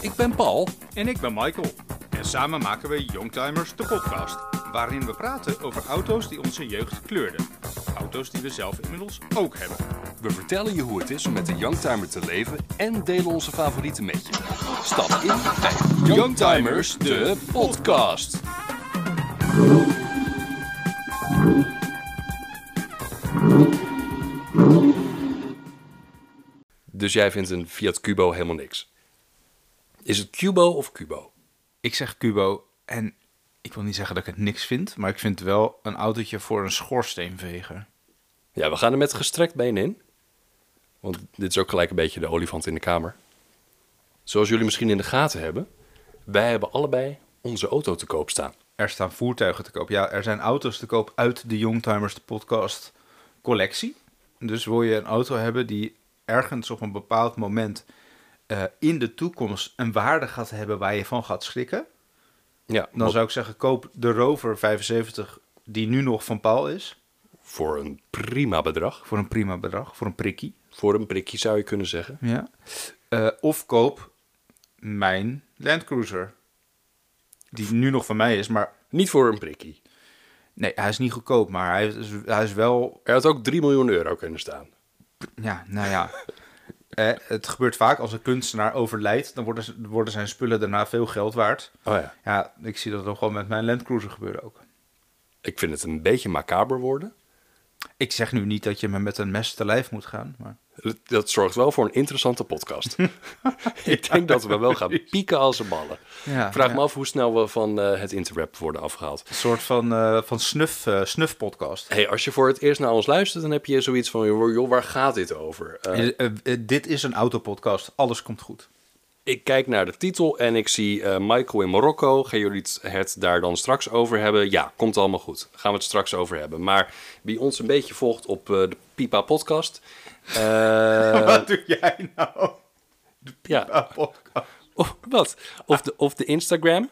Ik ben Paul. En ik ben Michael. En samen maken we Youngtimers, de podcast. Waarin we praten over auto's die onze jeugd kleurden. Auto's die we zelf inmiddels ook hebben. We vertellen je hoe het is om met een Youngtimer te leven en delen onze favorieten met je. Stap in bij Youngtimers, de podcast. Dus jij vindt een Fiat Cubo helemaal niks? Is het Cubo of Cubo? Ik zeg Cubo en ik wil niet zeggen dat ik het niks vind. Maar ik vind het wel een autootje voor een schoorsteenveger. Ja, we gaan er met gestrekt been in. Want dit is ook gelijk een beetje de olifant in de kamer. Zoals jullie misschien in de gaten hebben, wij hebben allebei onze auto te koop staan. Er staan voertuigen te koop. Ja, er zijn auto's te koop uit de Youngtimers, de podcast collectie. Dus wil je een auto hebben die ergens op een bepaald moment eh, in de toekomst een waarde gaat hebben waar je van gaat schrikken. Ja, Dan zou ik zeggen, koop de Rover 75 die nu nog van Paul is. voor een prima bedrag. Voor een prima bedrag, voor een prikkie. Voor een prikkie zou je kunnen zeggen. Ja. Eh, of koop mijn Land Cruiser. Die nu nog van mij is, maar... Niet voor een prikkie. Nee, hij is niet goedkoop, maar hij is, hij is wel... Er had ook 3 miljoen euro kunnen staan. Ja, nou ja. Eh, het gebeurt vaak als een kunstenaar overlijdt, dan worden, ze- worden zijn spullen daarna veel geld waard. Oh ja. Ja, ik zie dat ook gewoon met mijn Land Cruiser gebeuren ook. Ik vind het een beetje macaber worden. Ik zeg nu niet dat je me met een mes te lijf moet gaan, maar... Dat- Dat zorgt wel voor een interessante podcast. ik denk dat we wel gaan pieken als een ballen. Ja, Vraag ja. me af hoe snel we van eh, het interweb worden afgehaald. Een soort van, eh, van snuf, eh, snufpodcast. Hey, als je voor het eerst naar ons luistert, dan heb je zoiets van, joh, joh, waar gaat dit over? Eh, Eh, eh, eh, dit is een autopodcast. Alles komt goed. ik kijk naar de titel en ik zie eh, Michael in Marokko. Gaan jullie het- het daar dan straks over hebben? Ja, komt allemaal goed. Gaan we het straks over hebben. Maar wie ons een beetje volgt op eh, de Pipa podcast. eh, Wat doe jij nou? ja, Een podcast. of, wat? Of de, of de Instagram.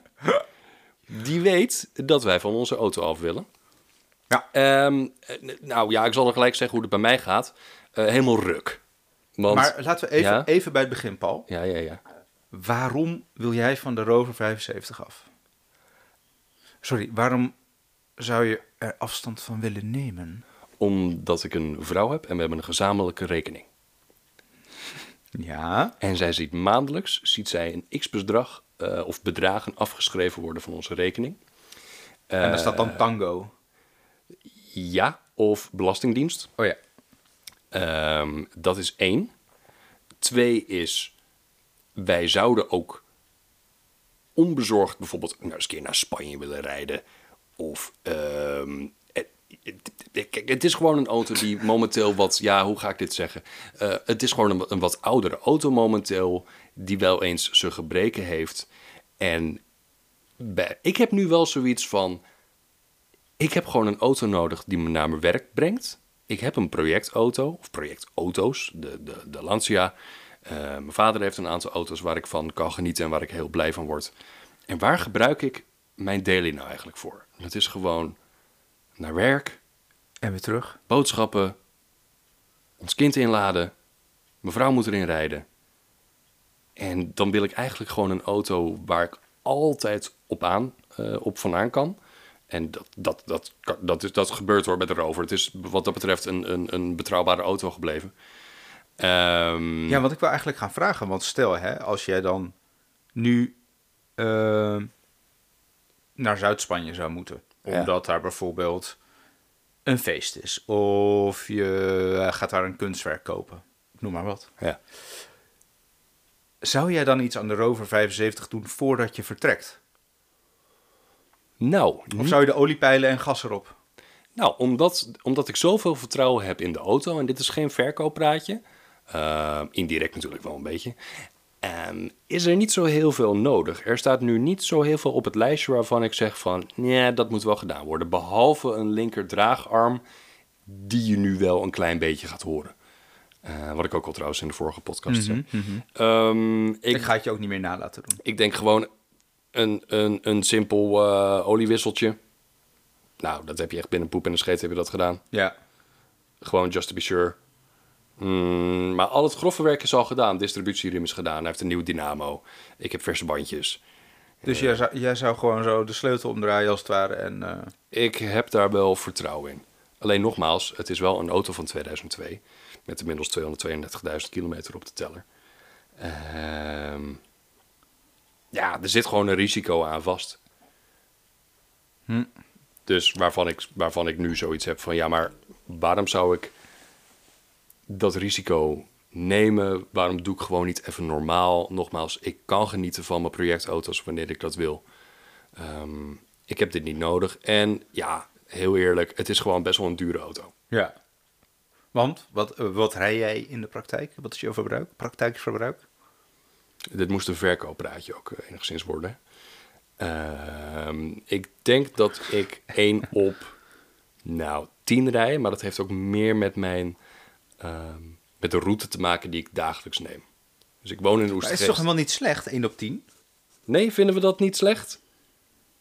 Die weet dat wij van onze auto af willen. Ja. Ehm, eh, n- nou ja, ik zal er gelijk zeggen hoe het bij mij gaat. Eh, helemaal ruk. Want, Maar laten we even, Ja? even bij het begin, Paul. Ja, ja, ja. Waarom wil jij van de Rover 75 af? Sorry, waarom zou je er afstand van willen nemen? Omdat ik een vrouw heb en we hebben een gezamenlijke rekening. Ja. En zij ziet maandelijks ziet zij een x-bedrag eh, of bedragen afgeschreven worden van onze rekening. En daar staat dan Tango. Ja, of Belastingdienst. Oh ja. Ehm, dat is één. Twee is, wij zouden ook onbezorgd bijvoorbeeld nou, eens een keer naar Spanje willen rijden. Of, ehm, het, het- het- kijk, het is gewoon een auto die momenteel wat, ja, hoe ga ik dit zeggen? Eh, het is gewoon een, een wat oudere auto momenteel, die wel eens zijn gebreken heeft. En bij- ik heb nu wel zoiets van, ik heb gewoon een auto nodig die me naar mijn werk brengt. Ik heb een projectauto, of projectauto's, de, de, de Lancia. Eh, mijn vader heeft een aantal auto's waar ik van kan genieten en waar ik heel blij van word. En waar gebruik ik mijn daily nou eigenlijk voor? Dat is gewoon naar werk, En weer terug. boodschappen, ons kind inladen, mevrouw moet erin rijden. En dan wil ik eigenlijk gewoon een auto waar ik altijd op, aan, eh, op vandaan kan. En dat, dat, dat, kan- dat, is, dat gebeurt hoor met de Rover. Het is wat dat betreft een, een, een betrouwbare auto gebleven. Ehm, Ja, want ik wil eigenlijk gaan vragen. Want stel, hè, als jij dan nu eh, naar Zuid-Spanje zou moeten. Ja. Omdat daar bijvoorbeeld een feest is. Of je eh, gaat daar een kunstwerk kopen. Noem maar wat. ja. Zou jij dan iets aan de Rover 75 doen voordat je vertrekt? Nou, Of zou je de oliepijlen en gas erop? Nou, omdat, omdat ik zoveel vertrouwen heb in de auto, en dit is geen verkooppraatje, eh, indirect natuurlijk wel een beetje, ehm, is er niet zo heel veel nodig. Er staat nu niet zo heel veel op het lijstje waarvan ik zeg van, nee, dat moet wel gedaan worden. Behalve een linker draagarm, die je nu wel een klein beetje gaat horen. Eh, wat ik ook al trouwens in de vorige podcast zei. Ehm, Ik, ik, ga het je ook niet meer na laten doen. ik denk gewoon een, een, een simpel eh, oliewisseltje. Nou, dat heb je echt binnen poep en een scheet heb je dat gedaan. Ja. Gewoon just to be sure. Mm, Maar al het grove werk is al gedaan. Distributierim is gedaan. Hij heeft een nieuw dynamo. Ik heb verse bandjes. Dus jij, zou, jij zou gewoon zo de sleutel omdraaien als het ware. En, eh, Ik heb daar wel vertrouwen in. Alleen nogmaals, het is wel een auto van 2002. Met inmiddels 232.000 kilometer op de teller. Ehm, ja, er zit gewoon een risico aan vast. Hm. Dus waarvan ik, waarvan ik nu zoiets heb van... Ja, maar waarom zou ik dat risico nemen? Waarom doe ik gewoon niet even normaal? Nogmaals, ik kan genieten van mijn projectauto's wanneer ik dat wil. Ehm, ik heb dit niet nodig. En ja, heel eerlijk, het is gewoon best wel een dure auto. ja. Want, wat, eh, wat rij jij in de praktijk? Wat is jouw verbruik? Praktijkverbruik? Dit moest een verkooppraatje ook eh, enigszins worden. Ehm, ik denk dat ik één op, nou, tien rij. Maar dat heeft ook meer met mijn, ehm, met de route te maken die ik dagelijks neem. Dus ik woon in Maar het is toch Oestergeest. helemaal niet slecht, 1 op 10? Nee, vinden we dat niet slecht?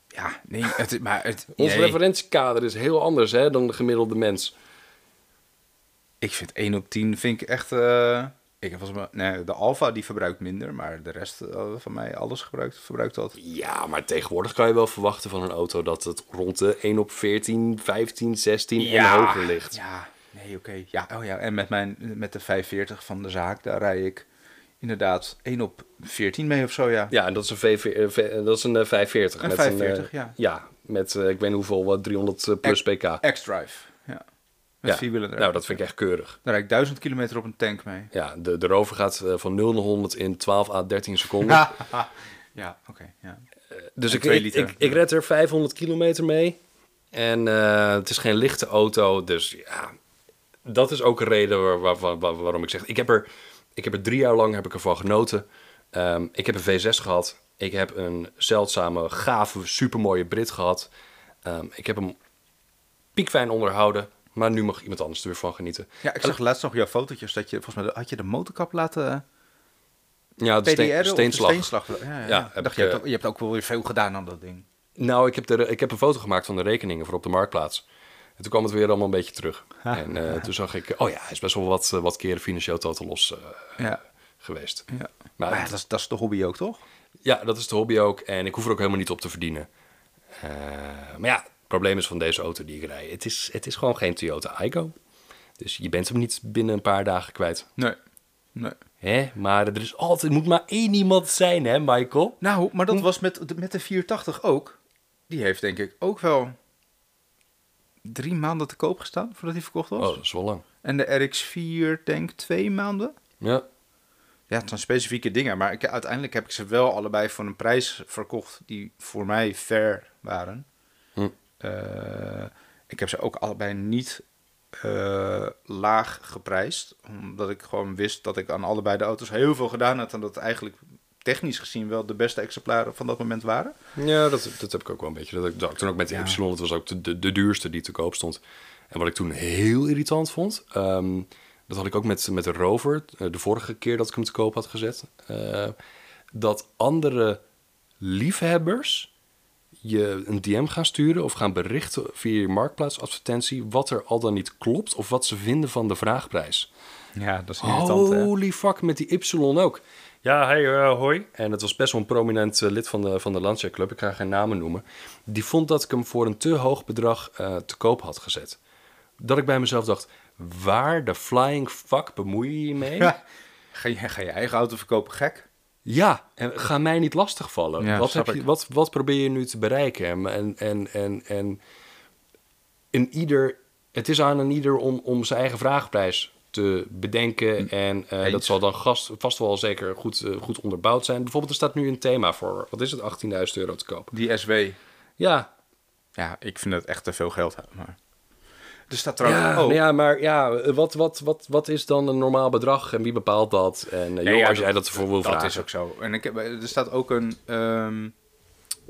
Ja, nee, het, is- maar het, Ons nee. referentiekader is heel anders hè, dan de gemiddelde mens. Ik vind 1 op 10 vind ik echt. eh, ik heb volgens mij. Nee, de Alfa die verbruikt minder, maar de rest eh, van mij, alles gebruikt, verbruikt dat. Ja, maar tegenwoordig kan je wel verwachten van een auto dat het rond de 1 op 14, 15, 16 en hoger ligt. Ja, nee, oké. Ja, oh ja, en met, mijn, met de 45 van de zaak, daar rij ik inderdaad 1 op 14 mee of zo, ja. Ja, en dat is een, VV, eh, V- eh, dat is een eh, 45. Een met 45, eh, ja. Ja, met eh, ik weet niet hoeveel, wat, 300 plus pk. X-Drive, ja. Met ja. vierwielen eruit. Nou, dat vind ik echt keurig. Daar rijd ik 1000 kilometer op een tank mee. Ja, de, de rover gaat eh, van 0 naar 100 in 12 à 13 seconden. ja, oké, ja. Dus En ik, twee ik, liter. ik, ik red er 500 kilometer mee. En eh, het is geen lichte auto. Dus ja, dat is ook een reden waar- waar- waar- waar- waarom ik zeg... Ik heb, er, ik heb er drie jaar lang heb ik ervan genoten. Ehm, ik heb een V6 gehad. Ik heb een zeldzame, gave, supermooie Brit gehad. Ehm, ik heb hem piekfijn onderhouden. Maar nu mag iemand anders er weer van genieten. Ja, ik zag laatst nog jouw fotootjes dat je, volgens mij had je de motorkap laten Ja, de steen- PDR of de steenslag. steenslag. Ja, ja, ja. Ja, Ik heb ik, dacht, je, hebt eh, ook, je hebt ook wel weer veel gedaan aan dat ding. Nou, ik heb, de, ik heb een foto gemaakt van de rekeningen voor op de marktplaats. En toen kwam het weer allemaal een beetje terug. En eh, toen zag ik, oh ja, hij is best wel wat, eh, wat keren financieel totaal los eh, Ja. geweest. Ja. Maar- Maar, ja, dat, is, dat is de hobby ook, toch? Ja, dat is de hobby ook. En ik hoef er ook helemaal niet op te verdienen. Eh, maar ja, het probleem is van deze auto die ik rij. Het is, het is gewoon geen Toyota Igo. Dus je bent hem niet binnen een paar dagen kwijt. Nee. nee. Hè? Maar er is altijd, er moet maar één iemand zijn, hè, Michael? Nou, maar dat was met, de- met de 480 ook. Die heeft denk ik ook wel drie maanden te koop gestaan voordat hij verkocht Oh, was. dat is wel lang. En de RX4 denk ik twee maanden. Ja, Ja, het zijn specifieke dingen. Maar ik, uiteindelijk heb ik ze wel allebei voor een prijs verkocht die voor mij fair waren. Hm. Eh, ik heb ze ook allebei niet eh, laag geprijsd. Omdat ik gewoon wist dat ik aan allebei de auto's heel veel gedaan had. En dat het eigenlijk technisch gezien wel de beste exemplaren van dat moment waren. Ja, dat, dat heb ik ook wel een beetje. Dat, ik- dat, toen ook met de Ja. Y, dat was ook de, de, de duurste die te koop stond. En wat ik toen heel irritant vond, ehm, dat had ik ook met, met de Rover, eh, de vorige keer dat ik hem te koop had gezet, eh, dat andere liefhebbers je een DM gaan sturen of gaan berichten via je marktplaatsadvertentie wat er al dan niet klopt of wat ze vinden van de vraagprijs. Ja, dat is Holy fuck, met die Y ook. Ja, hey, eh, hoi. En het was best wel een prominent eh, lid van de, van de Lancia Club. Ik ga geen namen noemen. Die vond dat ik hem voor een te hoog bedrag eh, te koop had gezet. Dat ik bij mezelf dacht, waar de flying fuck bemoei je je mee? Ja. Ga, je, ga je eigen auto verkopen gek? Ja, en ga mij niet lastigvallen. Ja, wat, snap heb je, ik. wat, wat probeer je nu te bereiken? En, en, en, en, en in ieder, het is aan een ieder om, om zijn eigen vraagprijs te bedenken. En eh, dat Mm. eens. zal dan gast, vast wel zeker goed, eh, goed onderbouwd zijn. Bijvoorbeeld, er staat nu een thema voor. Wat is het? 18.000 euro te koop. Die SW. Ja, Ja, ik vind dat echt te veel geld. Maar... Er staat trouwens... ja, oh. nou ja maar ja, wat, wat, wat, wat is dan een normaal bedrag? En wie bepaalt dat? En eh, joh, ja, als dat- jij dat ervoor wil Dat vragen. is ook zo. En ik heb, er staat ook een ehm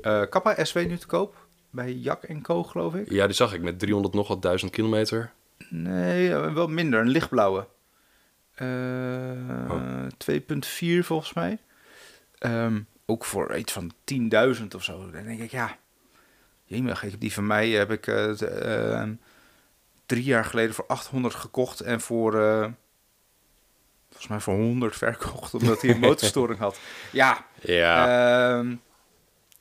eh, Kappa SW nu te koop. Bij Jak en Co, geloof ik. Ja, die zag ik met 300 nog wat duizend kilometer. Nee, eh, wel minder. Een lichtblauwe. Eh, 2.4 volgens mij. Ehm, ook voor iets van 10.000 of zo. Dan denk ik, ja... Jemig, ik heb die van mij heb ik eh, t- ehm, drie jaar geleden voor 800 gekocht. En voor... eh, volgens volgens mij voor 100 verkocht, omdat hij een motorstoring had. Ja, Ja. ehm,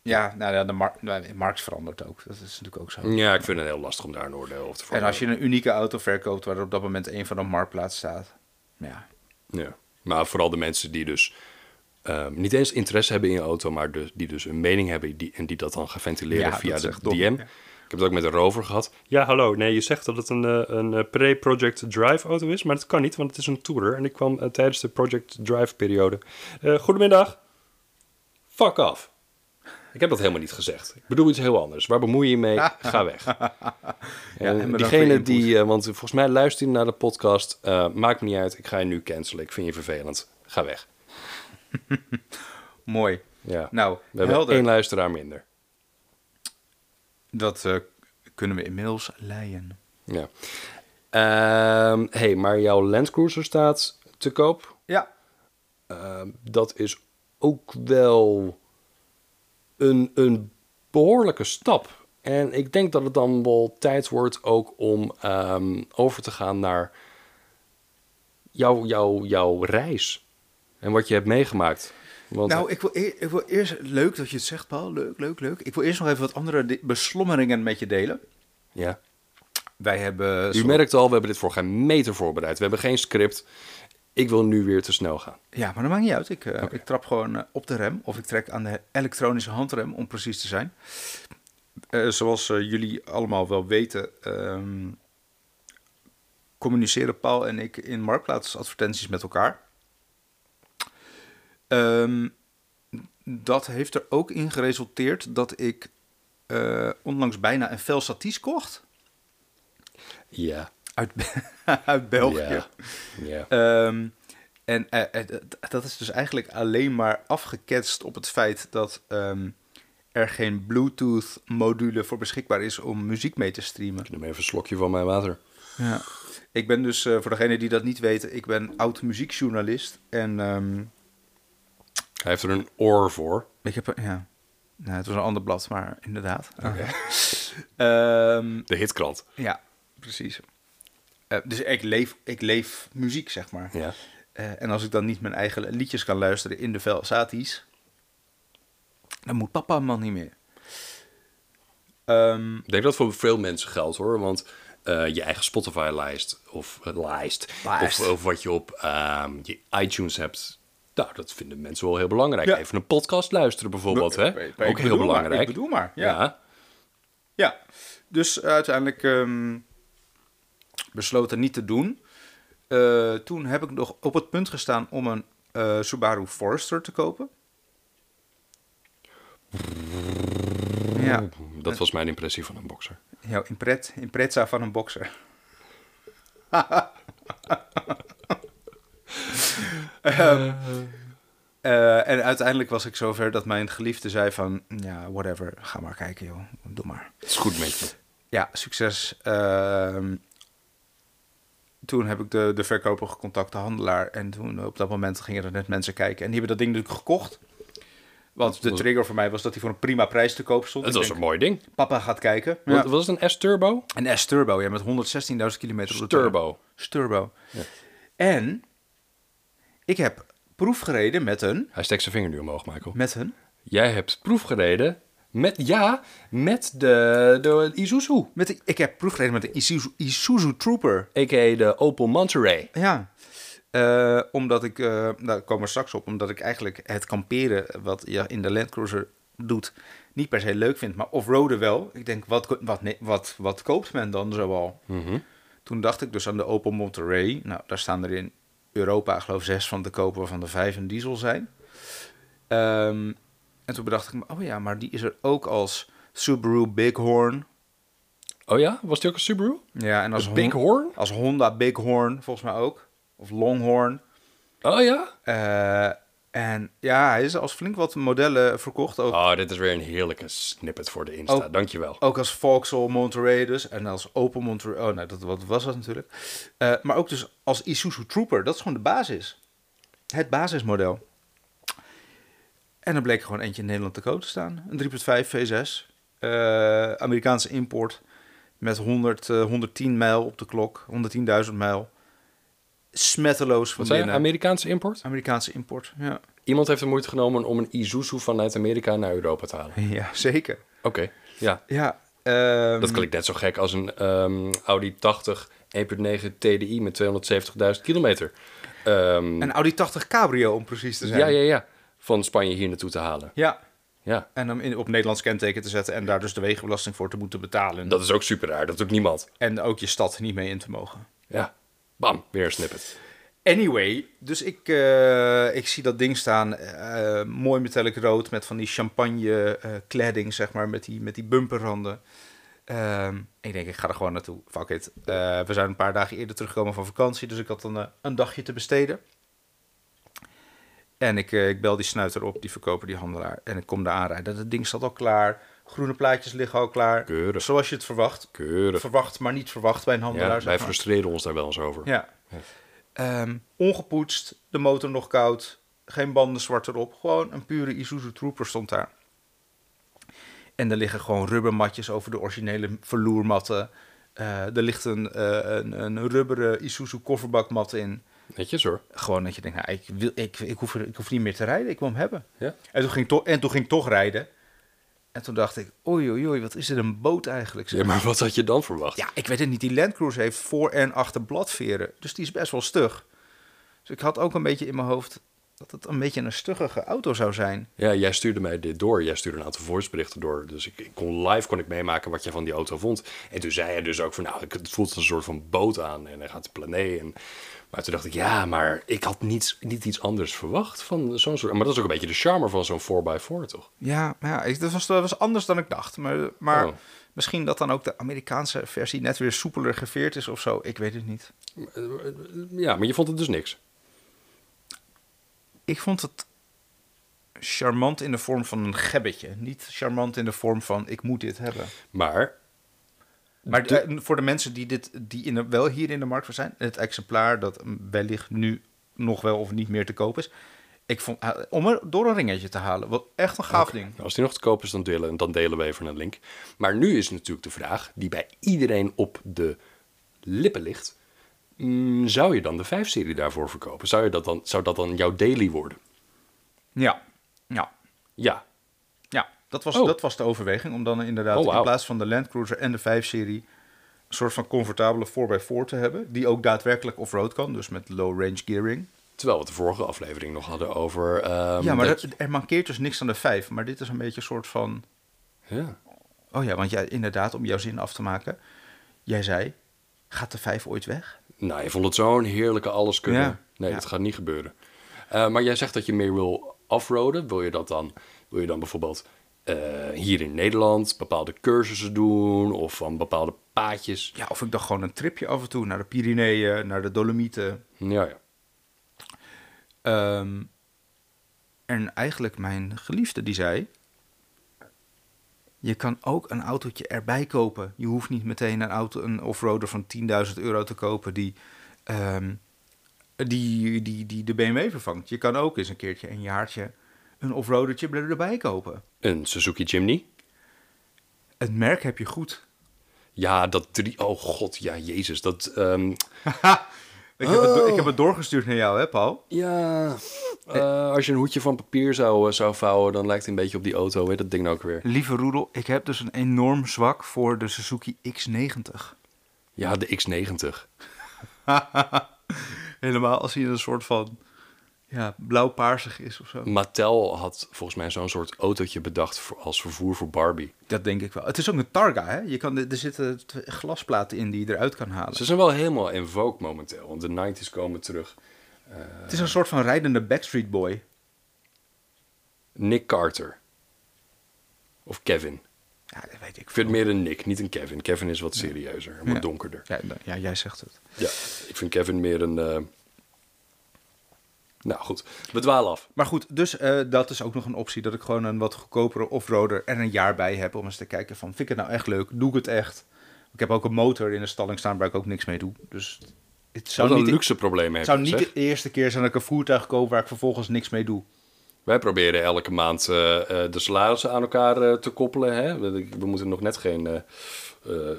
ja nou ja, de, mar- nou, de markt verandert ook. Dat is natuurlijk ook zo. ja, ik vind het heel lastig om daar een oordeel over te vormen. En als je een unieke auto verkoopt waar er op dat moment één van de marktplaats staat. Ja, Ja. Maar vooral de mensen die dus ehm, niet eens interesse hebben in je auto, maar dus, die dus een mening hebben die, en die dat dan gaan ventileren Ja, via dat is de echt DM. dom, ja. Ik heb het ook met een rover gehad. Ja, hallo. Nee, je zegt dat het een, eh, een eh, pre-Project Drive auto is, maar dat kan niet, want het is een Tourer en die kwam eh, tijdens de Project Drive periode. Eh, goedemiddag. Fuck off. Ik heb dat helemaal niet gezegd. Ik bedoel iets heel anders. Waar bemoei je je mee? Ga weg. En en bedankt voor diegene je die, eh, want volgens mij luistert hij naar de podcast. eh, maakt me niet uit. Ik ga je nu cancelen. Ik vind je vervelend. Ga weg. mooi. Ja. Nou, we hebben helder. één luisteraar minder. Dat eh, kunnen we inmiddels leien. Ja. Ehm, hey, maar jouw Land Cruiser staat te koop. Ja, Ehm, dat is ook wel een, een behoorlijke stap. En ik denk dat het dan wel tijd wordt ook om ehm, over te gaan naar jouw, jouw, jouw reis. En wat je hebt meegemaakt. Want, eh, nou, ik wil, eer- ik wil eerst... Leuk dat je het zegt, Paul. Leuk, leuk, leuk. Ik wil eerst nog even wat andere di- beslommeringen met je delen. ja. Wij hebben... U zo- merkt al, we hebben dit voor geen meter voorbereid. We hebben geen script. Ik wil nu weer te snel gaan. Ja, maar dat maakt niet uit. Ik, eh, ik trap gewoon eh, op de rem. Of ik trek aan de elektronische handrem, om precies te zijn. Eh, zoals eh, jullie allemaal wel weten... ehm, communiceren Paul en ik in marktplaatsadvertenties met elkaar. Ehm, dat heeft er ook in geresulteerd dat ik eh, onlangs bijna een fel saties kocht. Ja. Uit, uit België. Ja. ja. Ehm, en eh, eh, d- dat is dus eigenlijk alleen maar afgeketst op het feit dat ehm, er geen Bluetooth-module voor beschikbaar is om muziek mee te streamen. Ik neem even een slokje van mijn water. Ja. Ik ben dus, eh, voor degenen die dat niet weten, ik ben oud muziekjournalist. En ehm, Hij heeft er een oor voor. ik heb, ja, nou, het was een ander blad, maar inderdaad. Ehm, De hitkrant. ja, precies. Eh, dus ik leef, ik leef muziek, zeg maar. Ja. Eh, en als ik dan niet mijn eigen liedjes kan luisteren in de Velsatis, dan moet papa hem dan niet meer. Ehm, Ik denk dat voor veel mensen geldt hoor. Want eh, je eigen Spotify-lijst of eh, lijst. Lijst. Of, of wat je op ehm, je iTunes hebt. Nou, dat vinden mensen wel heel belangrijk. Ja. Even een podcast luisteren bijvoorbeeld. Ik- Hè? ik- Ook ik heel bedoel maar, belangrijk. ik bedoel maar, ja. ja. ja, dus uiteindelijk ehm, besloten niet te doen. Eh, toen heb ik nog op het punt gestaan om een eh, Subaru Forester te kopen. Ja, Dat was mijn impressie van een boxer. jouw impret, impreza van een bokser. Ehm, eh, en uiteindelijk was ik zover dat mijn geliefde zei van... Ja, whatever, ga maar kijken joh, doe maar. Het is goed met je. Ja, succes. Ehm, toen heb ik de, de verkoper gecontact, de handelaar. En toen op dat moment gingen er net mensen kijken. En die hebben dat ding natuurlijk gekocht. Want de was- trigger voor mij was dat hij voor een prima prijs te koop stond. Het Ik was een denk, mooi ding. Papa gaat kijken. Wat, was het een S-Turbo? Een S-Turbo, ja, met 116.000 kilometer. op de Turbo. S-Turbo. En ik heb proefgereden met een... Hij steekt zijn vinger nu omhoog, Michael. Met een... Jij hebt proefgereden met, ja, met de, de Isuzu. Met een ik heb proefgereden met een Isuzu, Isuzu Trooper. A.k.a. de Opel Monterey. Ja, Eh, omdat ik, eh nou, daar komen we straks op, omdat ik eigenlijk het kamperen wat je in de Land Cruiser doet, niet per se leuk vind, maar offroaden wel. Ik denk, wat, ko- wat, ne- wat, wat koopt men dan zoal? Toen dacht ik dus aan de Opel Monterey. Nou, daar staan er in Europa, ik geloof zes van te kopen, waarvan de vijf een diesel zijn. Ehm, en toen bedacht ik me, oh ja, maar die is er ook als Subaru Bighorn. Oh ja? Was die ook een Subaru? Ja, en als, Hon- Bighorn? als Honda Bighorn, volgens mij ook. Of Longhorn. Oh ja? Eh, en ja, hij is als flink wat modellen verkocht. Ook, Oh, dit is weer een heerlijke snippet voor de Insta. Oh. Dankjewel. ook als Vauxhall Monterey dus. En als Opel Monterey. Oh, nee, dat wat was dat natuurlijk. Eh, maar ook dus als Isuzu Trooper. Dat is gewoon de basis. Het basismodel. En er bleek er gewoon eentje in Nederland te koop te staan. Een 3.5 V6. eh, Amerikaanse import. Met 100, eh, 110 mijl op de klok. 110.000 mijl. smetteloos van Wat zei je? binnen. Amerikaanse import? Amerikaanse import, ja. Iemand heeft de moeite genomen om een Isuzu vanuit Amerika naar Europa te halen. Ja, zeker. Oké, ja. Ja, ehm, Dat klinkt net zo gek als een ehm, Audi 80 1.9 TDI met 270.000 kilometer. Ehm, Een Audi 80 Cabrio, om precies te zijn. ja, ja, ja. Van Spanje hier naartoe te halen. Ja, Ja, en hem in, op Nederlands kenteken te zetten en daar dus de wegenbelasting voor te moeten betalen. dat is ook super raar. Dat doet niemand. En ook je stad niet mee in te mogen. Ja, bam, weer een snippet. Anyway, dus ik, eh, ik zie dat ding staan, eh, mooi metallic rood met van die champagne eh, kledding, zeg maar, met die, met die bumperranden. Ehm, ik denk, ik ga er gewoon naartoe. Fuck it. Eh, we zijn een paar dagen eerder teruggekomen van vakantie, dus ik had dan eh, een dagje te besteden. En ik, eh, ik bel die snuiter op, die verkoper, die handelaar. En ik kom daar aanrijden. Dat ding staat al klaar. Groene plaatjes liggen al klaar. Keurig. Zoals je het verwacht. Keurig. Verwacht, maar niet verwacht bij een handelaar. Ja, zeg wij maar. frustreren ons daar wel eens over. Ja. Ehm, ongepoetst, de motor nog koud, geen banden zwart erop. Gewoon een pure Isuzu Trooper stond daar. En er liggen gewoon rubbermatjes over de originele vloermatten. Eh, er ligt een, eh, een, een rubberen Isuzu kofferbakmat in. Netjes hoor. Gewoon dat je denkt, nou, ik, wil, ik, ik, hoef, er- ik hoef niet meer te rijden, ik wil hem hebben. Ja. En toen ging, ik toch- en toen ging ik toch rijden. En toen dacht ik, oei oei oei, wat is dit een boot eigenlijk? zeg. Ja, maar wat had je dan verwacht? Ja, ik weet het niet. Die Land Cruiser heeft voor en achter bladveren. Dus die is best wel stug. Dus ik had ook een beetje in mijn hoofd dat het een beetje een stuggige auto zou zijn. Ja, jij stuurde mij dit door. Jij stuurde een aantal voiceberichten door. Dus ik, ik kon live kon ik meemaken wat je van die auto vond. En toen zei hij dus ook van, nou, ik- het voelt als een soort van boot aan. En hij gaat de planeet. En... Maar toen dacht ik, ja, maar ik had niets, niet iets anders verwacht van zo'n soort... Maar dat is ook een beetje de charme van zo'n 4x4, toch? Ja, maar ja ik- dat, was, dat was anders dan ik dacht. Maar, maar Oh. misschien dat dan ook de Amerikaanse versie net weer soepeler geveerd is of zo. Ik weet het niet. Ja, maar je vond het dus niks. Ik vond het charmant in de vorm van een gebbetje. Niet charmant in de vorm van ik moet dit hebben. Maar Maar eh, voor de mensen die, dit, die in de- wel hier in de markt zijn, het exemplaar dat mm, wellicht nu nog wel of niet meer te koop is. Ik vond, eh, om er door een ringetje te halen, wat echt een gaaf ding. Nou, als die nog te koop is, dan delen, dan delen we even een link. Maar nu is natuurlijk de vraag die bij iedereen op de lippen ligt. Mm, zou je dan de 5-serie daarvoor verkopen? Zou, je dat dan, zou dat dan jouw daily worden? Ja, ja, Ja, ja. Dat was, Oh. dat was de overweging, om dan inderdaad Oh, wauw. in plaats van de Land Cruiser en de 5-serie... een soort van comfortabele 4x4 te hebben, die ook daadwerkelijk off-road kan. Dus met low-range gearing. terwijl we het de vorige aflevering nog hadden over... ehm, ja, maar dat- dat- er mankeert dus niks aan de 5. Maar dit is een beetje een soort van... Ja. Oh ja, want jij, inderdaad, om jouw zin af te maken. Jij zei, gaat de 5 ooit weg? Nou, je vond het zo'n heerlijke alles kunnen. Ja. Nee, Ja. dat gaat niet gebeuren. Eh, maar jij zegt dat je meer wil offroaden. Wil je dat dan, wil je dan bijvoorbeeld eh, hier in Nederland bepaalde cursussen doen of van bepaalde paadjes? Ja, of ik dacht gewoon een tripje af en toe naar de Pyreneeën, naar de Dolomieten. Ja, ja. Ehm, en eigenlijk mijn geliefde die zei... Je kan ook een autootje erbij kopen. Je hoeft niet meteen een auto, een offroader van 10.000 euro te kopen die, ehm, die, die, die de BMW vervangt. Je kan ook eens een keertje een jaartje een offroadertje erbij kopen. Een Suzuki Jimny. Het merk heb je goed. Ja, dat drie... Oh god, ja, jezus. Dat... ehm, Ik, heb, het, do- ik heb het doorgestuurd naar jou, hè Paul? ja... eh, als je een hoedje van papier zou, eh, zou vouwen, dan lijkt het een beetje op die auto. Weet dat ding nou ook weer? Lieve Roedel, ik heb dus een enorm zwak voor de Suzuki X90. Ja, de X90. Helemaal als hij een soort van ja, blauw-paarsig is of zo. Mattel had volgens mij zo'n soort autootje bedacht voor, als vervoer voor Barbie. Dat denk ik wel. Het is ook een Targa, hè? Je kan, er zitten twee glasplaten in die je eruit kan halen. Ze zijn wel helemaal in vogue momenteel, want de 90s komen terug. Het is een soort van rijdende Backstreet Boy. Nick Carter. Of Kevin. Ja, dat weet ik Ik vind meer een Nick, niet een Kevin. Kevin is wat serieuzer, en wat Oh. Ja. donkerder. Ja, nou, ja, jij zegt het. Ja, ik vind Kevin meer een... eh, Nou goed, we dwalen af. Maar goed, dus eh, dat is ook nog een optie. Dat ik gewoon een wat goedkopere offroader er een jaar bij heb. Om eens te kijken van, vind ik het nou echt leuk? Doe ik het echt? Ik heb ook een motor in de stalling staan waar ik ook niks mee doe. Dus het zou Wat een niet... luxe probleem Het hebben. zou niet de eerste keer zijn dat ik een voertuig koop waar ik vervolgens niks mee doe. Wij proberen elke maand eh, eh, de salarissen aan elkaar eh, te koppelen. Hè? We, we moeten nog net geen eh, eh, eh,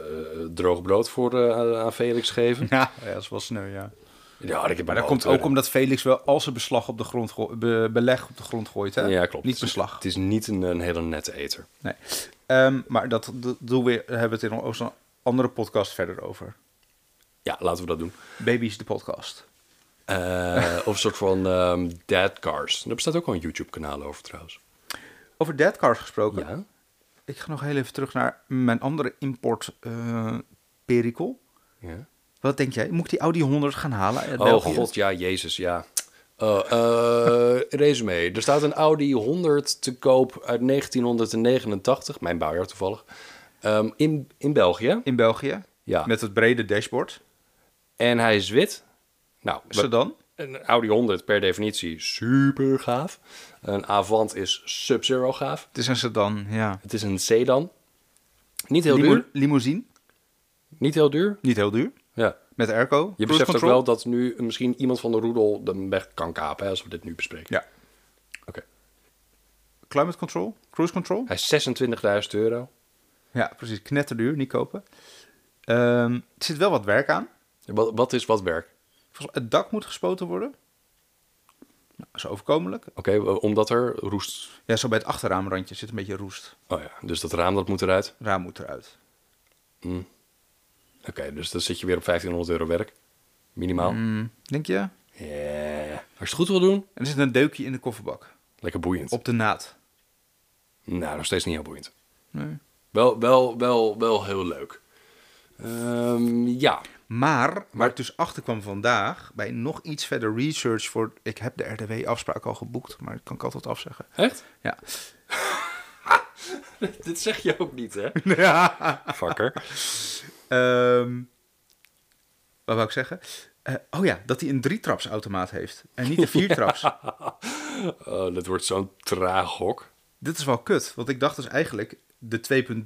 droog brood voor eh, aan- aan Felix geven. Ja, dat is wel sneu, ja. Ja, ik heb Maar dat komt ook omdat Felix wel al zijn beslag op de grond goo- be- beleg op de grond gooit. Hè? Ja, klopt. eh, Niet beslag. Het is niet een, een hele nette eter. Nee. Ehm, maar dat, dat doen we, daar hebben we het in onze andere podcast verder over. Ja, laten we dat doen. Baby's de podcast. Eh, of een soort van ehm dad cars. Daar bestaat ook al een YouTube-kanaal over trouwens. Over dead cars gesproken. Ja. Ik ga nog heel even terug naar mijn andere import eh, perikel. ja. Wat denk jij? Moet ik die Audi 100 gaan halen uit Oh België? god, ja, jezus, ja. Eh eh resume. Er staat een Audi 100 te koop uit 1989, mijn bouwjaar toevallig, ehm, in, in België. In België? Ja. Met het brede dashboard. En hij is wit. Nou, we- Sedan? een Audi 100 per definitie super gaaf. Een Avant is sub-zero gaaf. Het is een sedan, ja. Het is een sedan. Niet heel Limo- duur. Limousine? Niet heel duur. Niet heel duur. Ja. Met airco. Je cruise beseft ook control. wel dat nu misschien iemand van de roedel de weg kan kapen, hè, als we dit nu bespreken. Ja. Oké. Climate control? Cruise control? Hij is 26.000 euro. Ja, precies. Knetterduur, niet kopen. Ehm, er zit wel wat werk aan. Wat, wat is wat werk? Volgens mij, het dak moet gespoten worden. Nou, dat is overkomelijk. Oké, omdat er roest. Ja, zo bij het achterraamrandje zit een beetje roest. Oh ja, dus dat raam dat moet eruit. Raam moet eruit. Oké, dus dan zit je weer op 1500 euro werk. Minimaal. Hmm, denk je? En Ja. Als je het goed wil doen, er zit een deukje in de kofferbak. lekker boeiend. Op de naad. Nou, nog steeds niet heel boeiend. Nee. Wel, wel, wel, wel heel leuk. Ehm, ja. Maar, waar ik dus achter kwam vandaag, bij nog iets verder research voor... Ik heb de RDW-afspraak al geboekt, maar dat kan ik altijd afzeggen. Echt? Ja. Dit zeg je ook niet, hè? Fucker. Ehm, wat wou ik zeggen? Eh, oh ja, dat hij een drietrapsautomaat heeft. En niet een viertraps. Oh, dit wordt zo'n traag hok. Dit is wel kut, want ik dacht dus eigenlijk, de 2.3,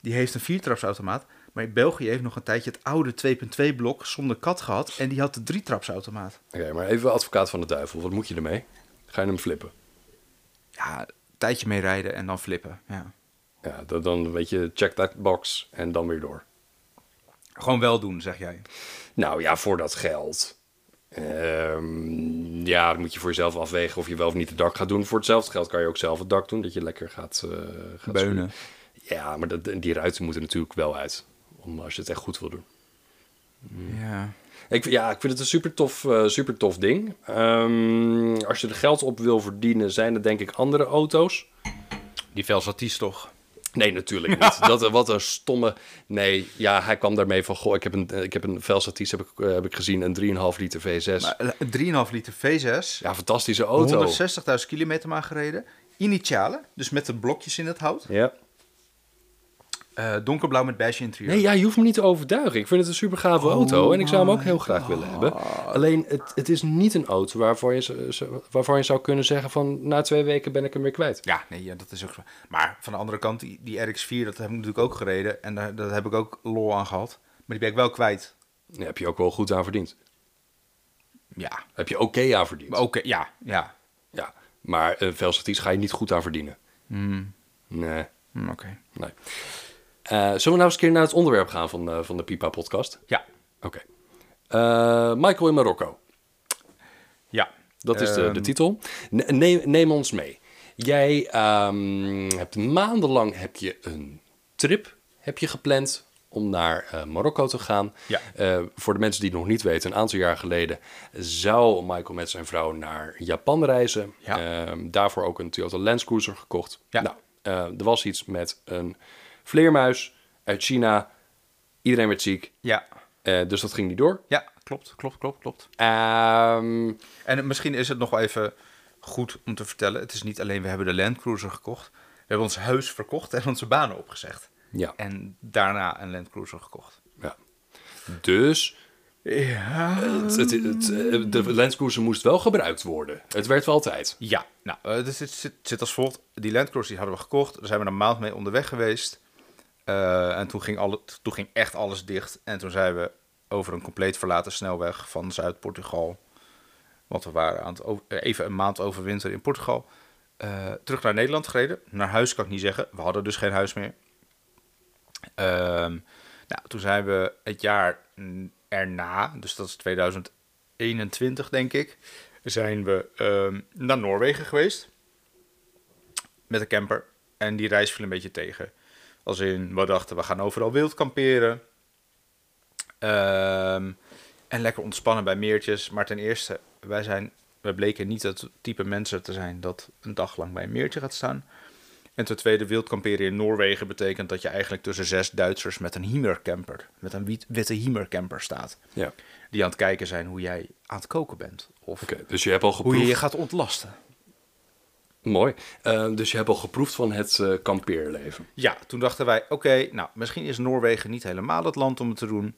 die heeft een viertrapsautomaat. Maar in België heeft nog een tijdje het oude 2.2 blok zonder kat gehad. En die had de drietrapsautomaat. Oké, maar even advocaat van de duivel. Wat moet je ermee? Ga je hem flippen? Ja, een tijdje mee rijden en dan flippen. Ja. Ja, dan, dan weet je, check that box en dan weer door. Gewoon wel doen, zeg jij. Nou ja, voor dat geld. Ehm, ja, dan moet je voor jezelf afwegen of je wel of niet het dak gaat doen. Voor hetzelfde geld kan je ook zelf het dak doen, dat je lekker gaat, eh gaat schuren. Beunen. Ja, maar dat, die ruiten moeten natuurlijk wel uit, om, als je het echt goed wil doen. Mm. Ja. Ik, vind- ja, ik vind het een super tof, eh, super tof ding. Ehm, als je er geld op wil verdienen, zijn er denk ik andere auto's. Die Velsatis toch? Nee, natuurlijk niet. Dat, eh, wat een stomme... Nee, ja, hij kwam daarmee van... Goh, ik heb een, eh, ik heb een Velsatis, heb ik, eh, heb ik gezien, een 3,5 liter V6. Maar, eh, een 3,5 liter V6. ja, fantastische auto. 160.000 kilometer maar gereden. Initialen, dus met de blokjes in het hout. Ja. Eh, donkerblauw met beige interieur. Nee, ja, je hoeft me niet te overtuigen. Ik vind het een super gave auto en ik zou hem ook heel graag willen hebben. Alleen, het, het is niet een auto waarvoor je, z- z- waarvan je zou kunnen zeggen van... na twee weken ben ik hem weer kwijt. Ja, nee, ja, dat is ook zo. Maar van de andere kant, die, die RX-4, dat heb ik natuurlijk ook gereden. En daar, daar heb ik ook lol aan gehad. Maar die ben ik wel kwijt. Daar heb je ook wel goed aan verdiend. Ja. Heb je oké aan verdiend. Maar oké, ja, ja. Ja, maar een velsaties ga je niet goed aan verdienen. Nee, Hm, oké. nee. Eh, zullen we nou eens een keer naar het onderwerp gaan van, eh, van de Pipa-podcast? Ja. Oké. Eh, Michael in Marokko. Ja. Dat is de, Ehm, de titel. Ne- Neem, neem ons mee. Jij ehm, hebt maandenlang heb je een trip heb je gepland om naar eh, Marokko te gaan. Ja. Eh, voor de mensen die het nog niet weten, een aantal jaar geleden zou Michael met zijn vrouw naar Japan reizen. Ja. Ehm, daarvoor ook een Toyota Land Cruiser gekocht. Ja. Nou, eh, er was iets met een vleermuis uit China. Iedereen werd ziek, Ja. Eh, dus dat ging niet door. Ja, klopt, klopt, klopt, klopt. Ehm, En het- misschien is het nog wel even goed om te vertellen. Het is niet alleen, we hebben de Land Cruiser gekocht. We hebben ons huis verkocht en onze banen opgezegd. ja. En daarna een Land Cruiser gekocht. ja. Dus Ja. Het, het, het, eh, de lenscruiser moest wel gebruikt worden. Het werd wel tijd. Ja, nou, eh, dus het zit, zit als volgt. Die Land Cruiser die hadden we gekocht. Daar zijn we een maand mee onderweg geweest. Eh, en toen ging, alle, toen ging echt alles dicht. En toen zijn we over een compleet verlaten snelweg van Zuid-Portugal. Want we waren aan het over- eh, even een maand overwinteren in Portugal. eh, terug naar Nederland gereden. Naar huis kan ik niet zeggen. We hadden dus geen huis meer. Ehm, nou, toen zijn we het jaar mm, erna, dus dat is 2011, 21, denk ik, zijn we ehm, naar Noorwegen geweest. Met een camper. En die reis viel een beetje tegen. Als in, we dachten, we gaan overal wild kamperen. Ehm, en lekker ontspannen bij meertjes. Maar ten eerste, wij, zijn, wij bleken niet het type mensen te zijn dat een dag lang bij een meertje gaat staan. En ten tweede, wild kamperen in Noorwegen betekent dat je eigenlijk tussen zes Duitsers met een Hiemercamper, met een wiet- witte Hiemercamper staat. Ja. Die aan het kijken zijn hoe jij aan het koken bent. Of Oké, dus je hebt al hoe geproefd. je je gaat ontlasten. Mooi. Eh, dus je hebt al geproefd van het eh, kampeerleven. Ja, toen dachten wij, oké, nou, misschien is Noorwegen niet helemaal het land om het te doen.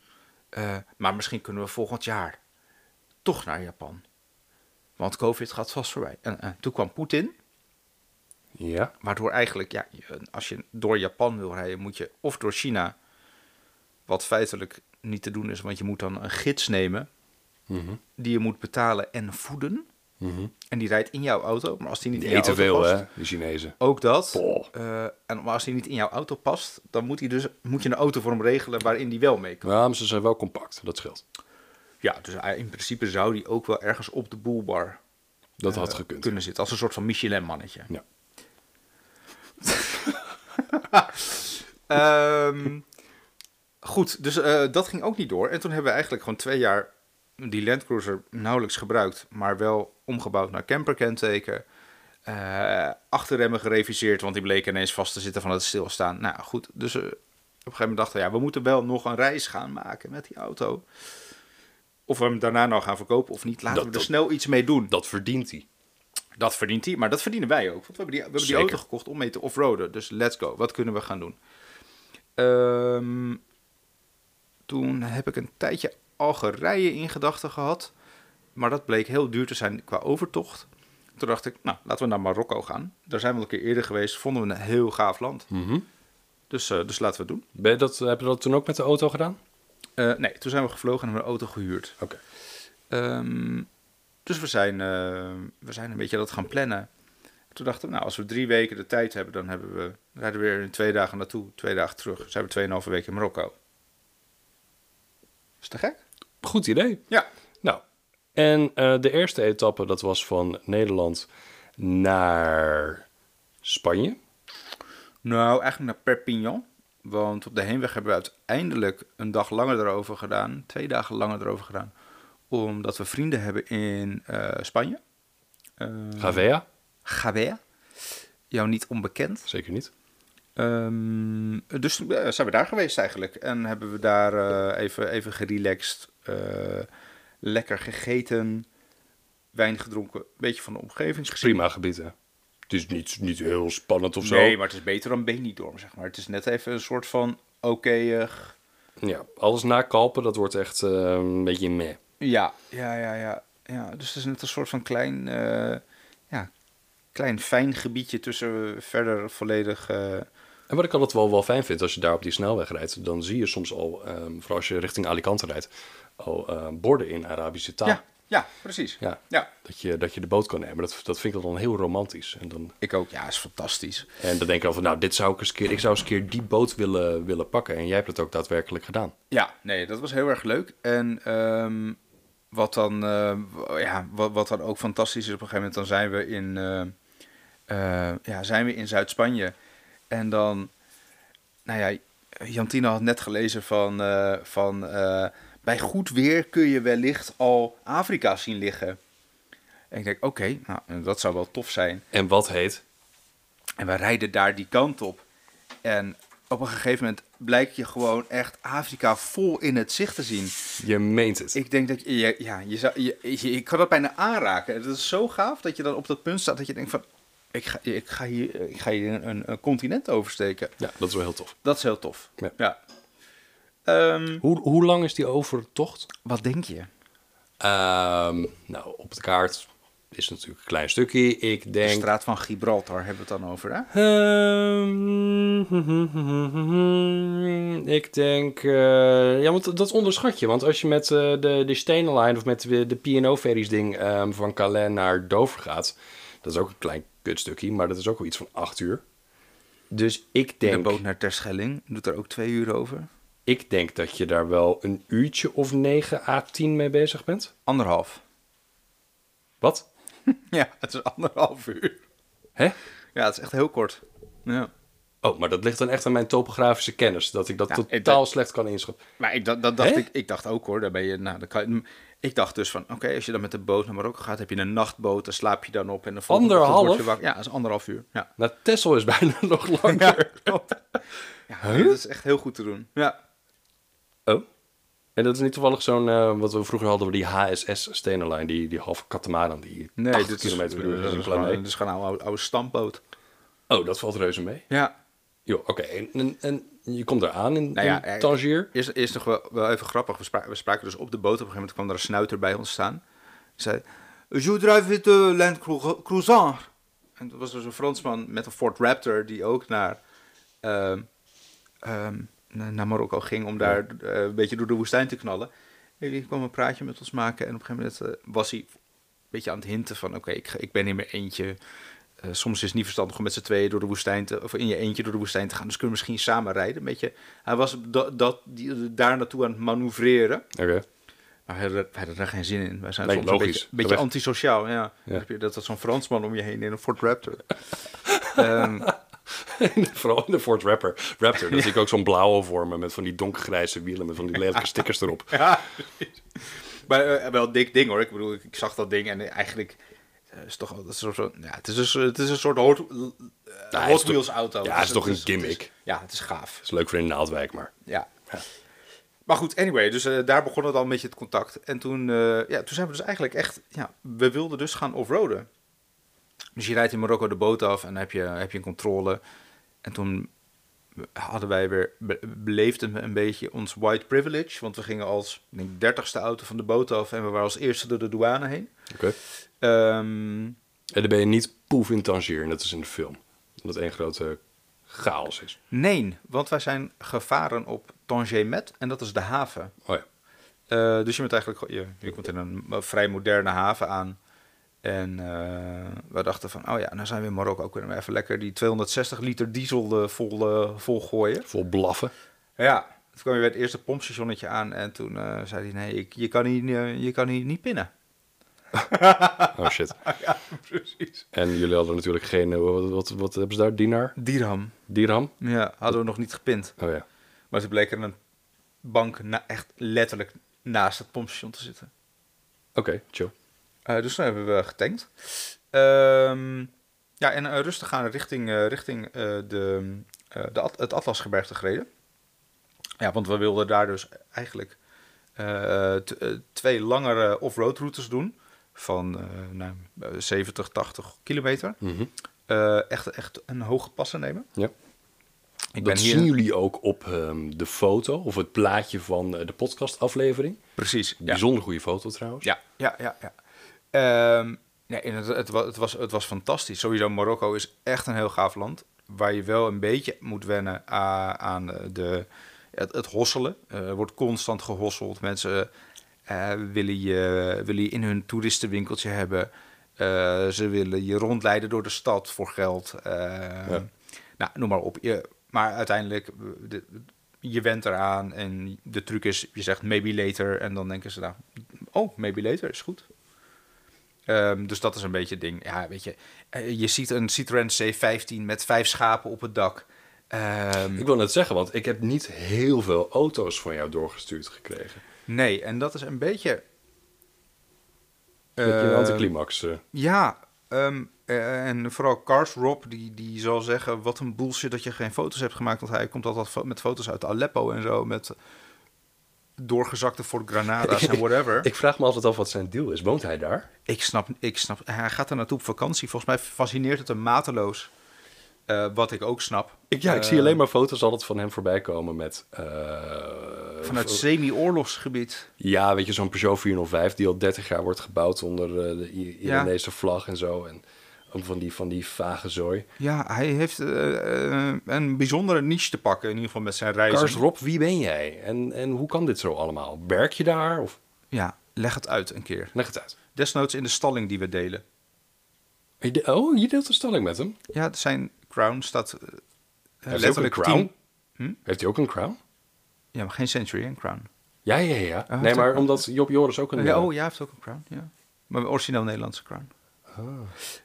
eh, maar misschien kunnen we volgend jaar toch naar Japan. Want COVID gaat vast voorbij. En eh, toen kwam Poetin, Ja. waardoor eigenlijk, ja, je- als je door Japan wil rijden, moet je of door China, wat feitelijk niet te doen is, want je moet dan een gids nemen Mhm. die je moet betalen en voeden. En die rijdt in jouw auto, maar als die niet Die in jouw eten auto Mhm. veel, past, hè, die Chinezen. Ook dat. Boah. Eh, en maar als die niet in jouw auto past, dan moet, hij dus, moet je een auto voor hem regelen waarin die wel mee kan. Ja, maar ze zijn wel compact, dat scheelt. Ja, dus hij- in principe zou die ook wel ergens op de boelbar Dat had eh, gekund. kunnen zitten. Als een soort van Michelin-mannetje. Ja. Ehm, goed, dus eh, dat ging ook niet door. En toen hebben we eigenlijk gewoon twee jaar die Land Cruiser nauwelijks gebruikt, maar wel omgebouwd naar camperkenteken. Eh achterremmen gereviseerd, want die bleken ineens vast te zitten van het stilstaan. Nou goed, dus eh, op een gegeven moment dachten we, ja, we moeten wel nog een reis gaan maken met die auto. Of we hem daarna nou gaan verkopen of niet, laten Dat- we er dat- snel iets mee doen. Dat verdient hij. Dat verdient hij, maar dat verdienen wij ook. Want we hebben die, we hebben die Zeker. auto gekocht om mee te offroaden. Dus let's go. Wat kunnen we gaan doen? Ehm, toen heb ik een tijdje Algerije in gedachten gehad. Maar dat bleek heel duur te zijn qua overtocht. Toen dacht ik, nou, laten we naar Marokko gaan. Daar zijn we al een keer eerder geweest. Vonden we een heel gaaf land. Dus, eh, dus laten we het doen. Ben je dat, heb je dat toen ook met de auto gedaan? Eh, nee, toen zijn we gevlogen en hebben we een auto gehuurd. Oké. Ehm, dus we zijn, eh, we zijn een beetje dat gaan plannen. Toen dachten we, nou, als we drie weken de tijd hebben, dan hebben we, rijden we weer in twee dagen naartoe, twee dagen terug. Zijn we tweeënhalve weken in Marokko. Is te gek? Goed idee. Ja. Nou, En eh, de eerste etappe, dat was van Nederland naar Spanje. Nou, eigenlijk naar Perpignan. Want op de heenweg hebben we uiteindelijk een dag langer erover gedaan. Twee dagen langer erover gedaan. Omdat we vrienden hebben in eh, Spanje. Eh, Gavea? Gabea. Jou niet onbekend. Zeker niet. Ehm, dus eh, zijn we daar geweest eigenlijk. En hebben we daar eh, even, even gerelaxed, eh, lekker gegeten, wijn gedronken, een beetje van de omgeving gezien. Prima gebied, hè. Het is niet, niet heel spannend of zo. Nee, maar het is beter dan Benidorm, zeg maar. Het is net even een soort van oké. eh, Ja, alles nakalpen, dat wordt echt eh, een beetje meh. ja. ja, ja, ja, ja. Dus het is net een soort van klein, eh, ja, klein fijn gebiedje tussen verder volledig... eh, En wat ik altijd wel, wel fijn vind, als je daar op die snelweg rijdt, dan zie je soms al, ehm, vooral als je richting Alicante rijdt, al eh, borden in Arabische taal. ja, ja, precies. Ja. ja. Dat, je, dat je de boot kan nemen. Dat, dat vind ik dan heel romantisch. En dan, Ik ook. Ja, is fantastisch. en dan denk ik al van, nou, dit zou ik eens een keer, ik zou eens een keer die boot willen, willen pakken. En jij hebt het ook daadwerkelijk gedaan. Ja, nee, dat was heel erg leuk. En ehm, wat, dan, eh, w- ja, wat, wat dan ook fantastisch is, op een gegeven moment dan zijn we in, eh, eh, ja, zijn we in Zuid-Spanje. En dan, nou ja, Jantine had net gelezen van, eh, van eh, bij goed weer kun je wellicht al Afrika zien liggen. En ik denk, oké, nou, dat zou wel tof zijn. En wat heet? En we rijden daar die kant op. En op een gegeven moment blijkt je gewoon echt Afrika vol in het zicht te zien. Je meent het. Ik denk dat je, ja, ja, je, zou, je, je- ik kan dat bijna aanraken. Dat is zo gaaf dat je dan op dat punt staat dat je denkt van, ik ga, ik ga hier, ik ga hier een, een continent oversteken. Ja, dat is wel heel tof. Dat is heel tof. Ja. Ehm, Hoe, hoe lang is die overtocht? wat denk je? Ehm, nou, op de kaart is natuurlijk een klein stukje. Ik De denk... straat van Gibraltar hebben we het dan over, hè? Ehm, ik denk... eh, ja, want dat onderschat je. Want als je met eh, de, de Stenenlijn of met de, de P&O-ferries ding ehm, van Calais naar Dover gaat... Dat is ook een klein kutstukje, maar dat is ook wel iets van acht uur. Dus ik De denk... boot naar Terschelling doet er ook twee uur over. Ik denk dat je daar wel een uurtje of 9 à 10 mee bezig bent. Anderhalf. Wat? Ja, het is anderhalf uur. Hè? Ja, het is echt heel kort. Ja. Oh, maar dat ligt dan echt aan mijn topografische kennis. Dat ik dat Ja, ik totaal denk- slecht kan inschatten. Maar ik, dat, dat dacht Hè? ik, ik dacht ook hoor, daar ben je, nou, dan kan, ik dacht dus van, oké, als je dan met de boot naar Marokko gaat, heb je een nachtboot, dan slaap je dan op en de volgende ochtend Anderhalf? word je wakker. Ja, dat is anderhalf uur. Ja, Nou, Tessel is bijna nog ja, langer. klopt. ja dat is echt heel goed te doen. Ja, Oh. En dat is niet toevallig zo'n, eh, wat we vroeger hadden, we die HSS Stenerlijn, die, die halve katamaran, die nee, 80 kilometer per uur is. dat een is klein gewoon, mee. dat is gewoon een oude, oude stampboot. Oh, dat valt reuze mee. Ja, Joh, oké. En, en, en je komt eraan in, Nou ja, in eh, Tangier. Eerst, eerst nog wel, wel even grappig. We, spra- we spraken dus op de boot. Op een gegeven moment kwam er een snuiter bij ons staan. Die zei... Je drive with the Land Cru- Cruiser. En dat was dus een Fransman met een Ford Raptor... die ook naar, ehm, ehm, na- naar Marokko ging... om daar eh, een beetje door de woestijn te knallen. En die kwam een praatje met ons maken. En op een gegeven moment eh, was hij een beetje aan het hinten van... oké, ik, ga- ik ben in mijn eentje... Eh, soms is het niet verstandig om met z'n tweeën door de woestijn te, of in je eentje door de woestijn te gaan. Dus kunnen we misschien samen rijden. Een beetje, hij was da- dat, die, daar naartoe aan het manoeuvreren. Oké. Maar hij, had er- hij had er geen zin in. Wij zijn Nee, soms logisch. een beetje, beetje Weg. antisociaal. Ja. Dan heb je Dat dat zo'n Fransman om je heen in een Ford Raptor. Ehm, Vooral in de Ford Rapper. Raptor, dat zie ik ook zo'n blauwe vormen met van die donkergrijze wielen met van die lelijke stickers erop. ja, precies. maar eh, wel een dik ding hoor. Ik bedoel, ik, ik zag dat ding en eh, eigenlijk... eh, is toch, wel- dat is toch zo, ja, het, is een, soort- het is een soort Hot, eh, hij is Hot toch- Wheels auto. ja, Dus het is toch een het gimmick. ja, het is gaaf. is leuk voor in Naaldwijk, maar... Ja. Maar goed, anyway, dus eh, daar begon het al een beetje het contact. En toen, eh, ja, toen zijn we dus eigenlijk echt, ja, we wilden dus gaan offroaden. Dus je rijdt in Marokko de boot af en dan heb je, heb je een controle. En toen hadden wij weer, be- beleefden we een beetje ons white privilege. Want we gingen als, ik denk, dertigste auto van de boot af en we waren als eerste door de douane heen. Oké. Ehm, En dan ben je niet poef in Tangier, en dat is in de film. Omdat het één grote chaos is. nee, want wij zijn gevaren op Tanger Met en dat is de haven. Oh ja. Eh, dus je bent eigenlijk gewoon- je, je komt in een mo- vrij moderne haven aan. En eh, we dachten van, oh ja, nou zijn we in Marokko, kunnen we even lekker die 260 liter diesel eh, vol, eh, vol gooien. Vol blaffen. Ja, toen kwam je bij het eerste pompstationnetje aan en toen eh, zei hij, nee, ik, je, kan hier, eh, je kan hier niet pinnen. Oh shit. ja, precies. En jullie hadden natuurlijk geen... eh, Wat, wat, wat hebben ze daar? Dinar? Dirham, Dirham? ja, hadden we nog niet gepind. Oh ja. Maar toen bleek er een bank na, echt letterlijk naast het pompstation te zitten. Oké, chill. Eh, dus toen hebben we getankt. Ehm, ja, en eh, rustig gaan richting, eh, richting eh, de, eh, de At- het Atlasgebergte gereden. Ja, want we wilden daar dus eigenlijk eh, t- eh, twee langere off-road routes doen. Van eh, nou, eh, 70, 80 kilometer. Mhm. Eh, echt, echt een hoge passen nemen. Ja. Ik dat zien jullie ook op ehm, de foto of het plaatje van eh, de podcastaflevering. Precies. Ja. Bijzonder goede foto trouwens. Ja, ja, ja. ja. Ehm, nee, en het, het, wa- het, was, het was fantastisch. Sowieso, Marokko is echt een heel gaaf land. Waar je wel een beetje moet wennen a- aan de, het, het hosselen. Eh, er wordt constant gehosseld. Mensen eh, willen, je, willen je in hun toeristenwinkeltje hebben. Eh, ze willen je rondleiden door de stad voor geld. Eh, Nou, noem maar op. Je, maar uiteindelijk, eh, de- je went eraan en de truc is, je zegt maybe later. En dan denken ze, nou, oh, maybe later is goed. Ehm, dus dat is een beetje het ding. Ja, weet je, eh, je ziet een Citroën C15 met vijf schapen op het dak. Ehm, Ik wil net zeggen, want ik heb niet heel veel auto's van jou doorgestuurd gekregen. nee, en dat is een beetje... Met je Ehm, anticlimax. eh. Ja, ehm, eh, en vooral Cars Rob, die, die zal zeggen... wat een bullshit dat je geen foto's hebt gemaakt. Want hij komt altijd fo- met foto's uit Aleppo en zo... met doorgezakte Fort Granada's en whatever. Ik vraag me altijd af wat zijn deal is. Woont hij daar? Ik snap, ik snap. Hij gaat er naartoe op vakantie. Volgens mij fascineert het hem mateloos. Eh, wat ik ook snap. Ik, ja, ik Eh, zie alleen maar foto's altijd van hem voorbij komen met... eh, Vanuit v- semi-oorlogsgebied. Ja, weet je, zo'n Peugeot 405 die al 30 jaar wordt gebouwd onder eh, de I- Ja. Indonesische vlag en zo. En ook van die, van die vage zooi. Ja, hij heeft eh, eh, een bijzondere niche te pakken. In ieder geval met zijn reizen. Kars Rob, wie ben jij? En, en hoe kan dit zo allemaal? Werk je daar? Of Ja, leg het uit een keer. leg het uit. Desnoods in de stalling die we delen. Je de- Oh, je deelt een stelling met hem. Ja, zijn crown staat eh, Heeft hij ook een letterlijk crown? tien- Hm? Heeft hij ook een crown? Ja, maar geen Century en Crown. Ja, ja, ja. hij nee, heeft maar ook- omdat Job Joris ook een... Ja, oh, jij heeft ook een Crown, ja. Maar een origineel Nederlandse Crown. Oh.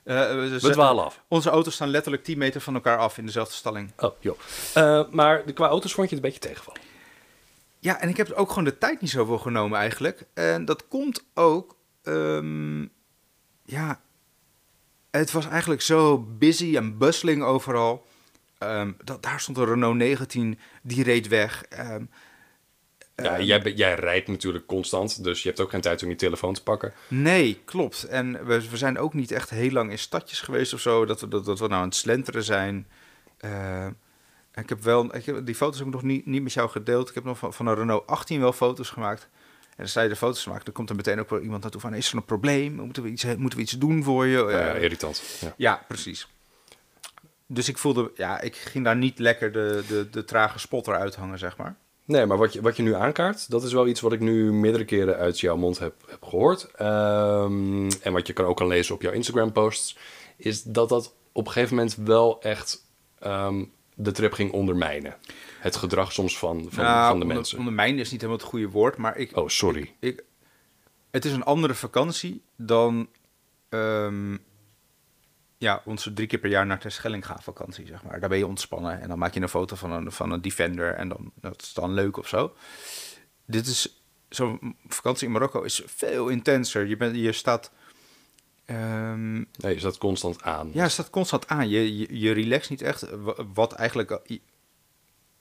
Eh, we We zetten- dwalen af. Onze auto's staan letterlijk 10 meter van elkaar af in dezelfde stalling. Oh, joh. Eh, maar de- qua auto's vond je het een beetje tegenvallen. Ja, en ik heb ook gewoon de tijd niet zoveel genomen eigenlijk. En dat komt ook. ehm, ja, het was eigenlijk zo busy en bustling overal. Ehm, dat, daar stond een Renault 19, die reed weg. Ehm, Ja, jij, be- jij rijdt natuurlijk constant, dus je hebt ook geen tijd om je telefoon te pakken. nee, klopt. En we, we zijn ook niet echt heel lang in stadjes geweest of zo. Dat we, dat, dat we nou aan het slenteren zijn. Ehm, ik heb wel, ik heb, die foto's heb ik nog niet, niet met jou gedeeld. Ik heb nog van, van een Renault 18 wel foto's gemaakt. En als zij de foto's maakt, dan komt er meteen ook wel iemand naartoe van... is er een probleem? Moeten we iets, moeten we iets doen voor je? Oh Ja, Eh, irritant. Ja. ja, precies. Dus ik voelde, ja, ik ging daar niet lekker de, de, de trage spot eruit hangen, zeg maar. Nee, maar wat je, wat je nu aankaart, dat is wel iets wat ik nu meerdere keren uit jouw mond heb, heb gehoord. Ehm, en wat je kan ook kan lezen op jouw Instagram-posts, is dat dat op een gegeven moment wel echt ehm, de trip ging ondermijnen. Het gedrag soms van, van, Nou, van de onder- mensen. Ondermijnen is niet helemaal het goede woord, maar ik, Oh, sorry. ik, het is een andere vakantie dan ehm, ja, onze drie keer per jaar naar Terschelling gaan vakantie, zeg maar. Daar ben je ontspannen en dan maak je een foto van een, van een Defender en dan, dat is dan leuk of zo. Dit is, zo'n vakantie in Marokko is veel intenser. Je, bent, je staat... ehm, Nee, je staat constant aan. ja, het staat constant aan. Je, je, je relaxt niet echt. wa- Wat eigenlijk. eh,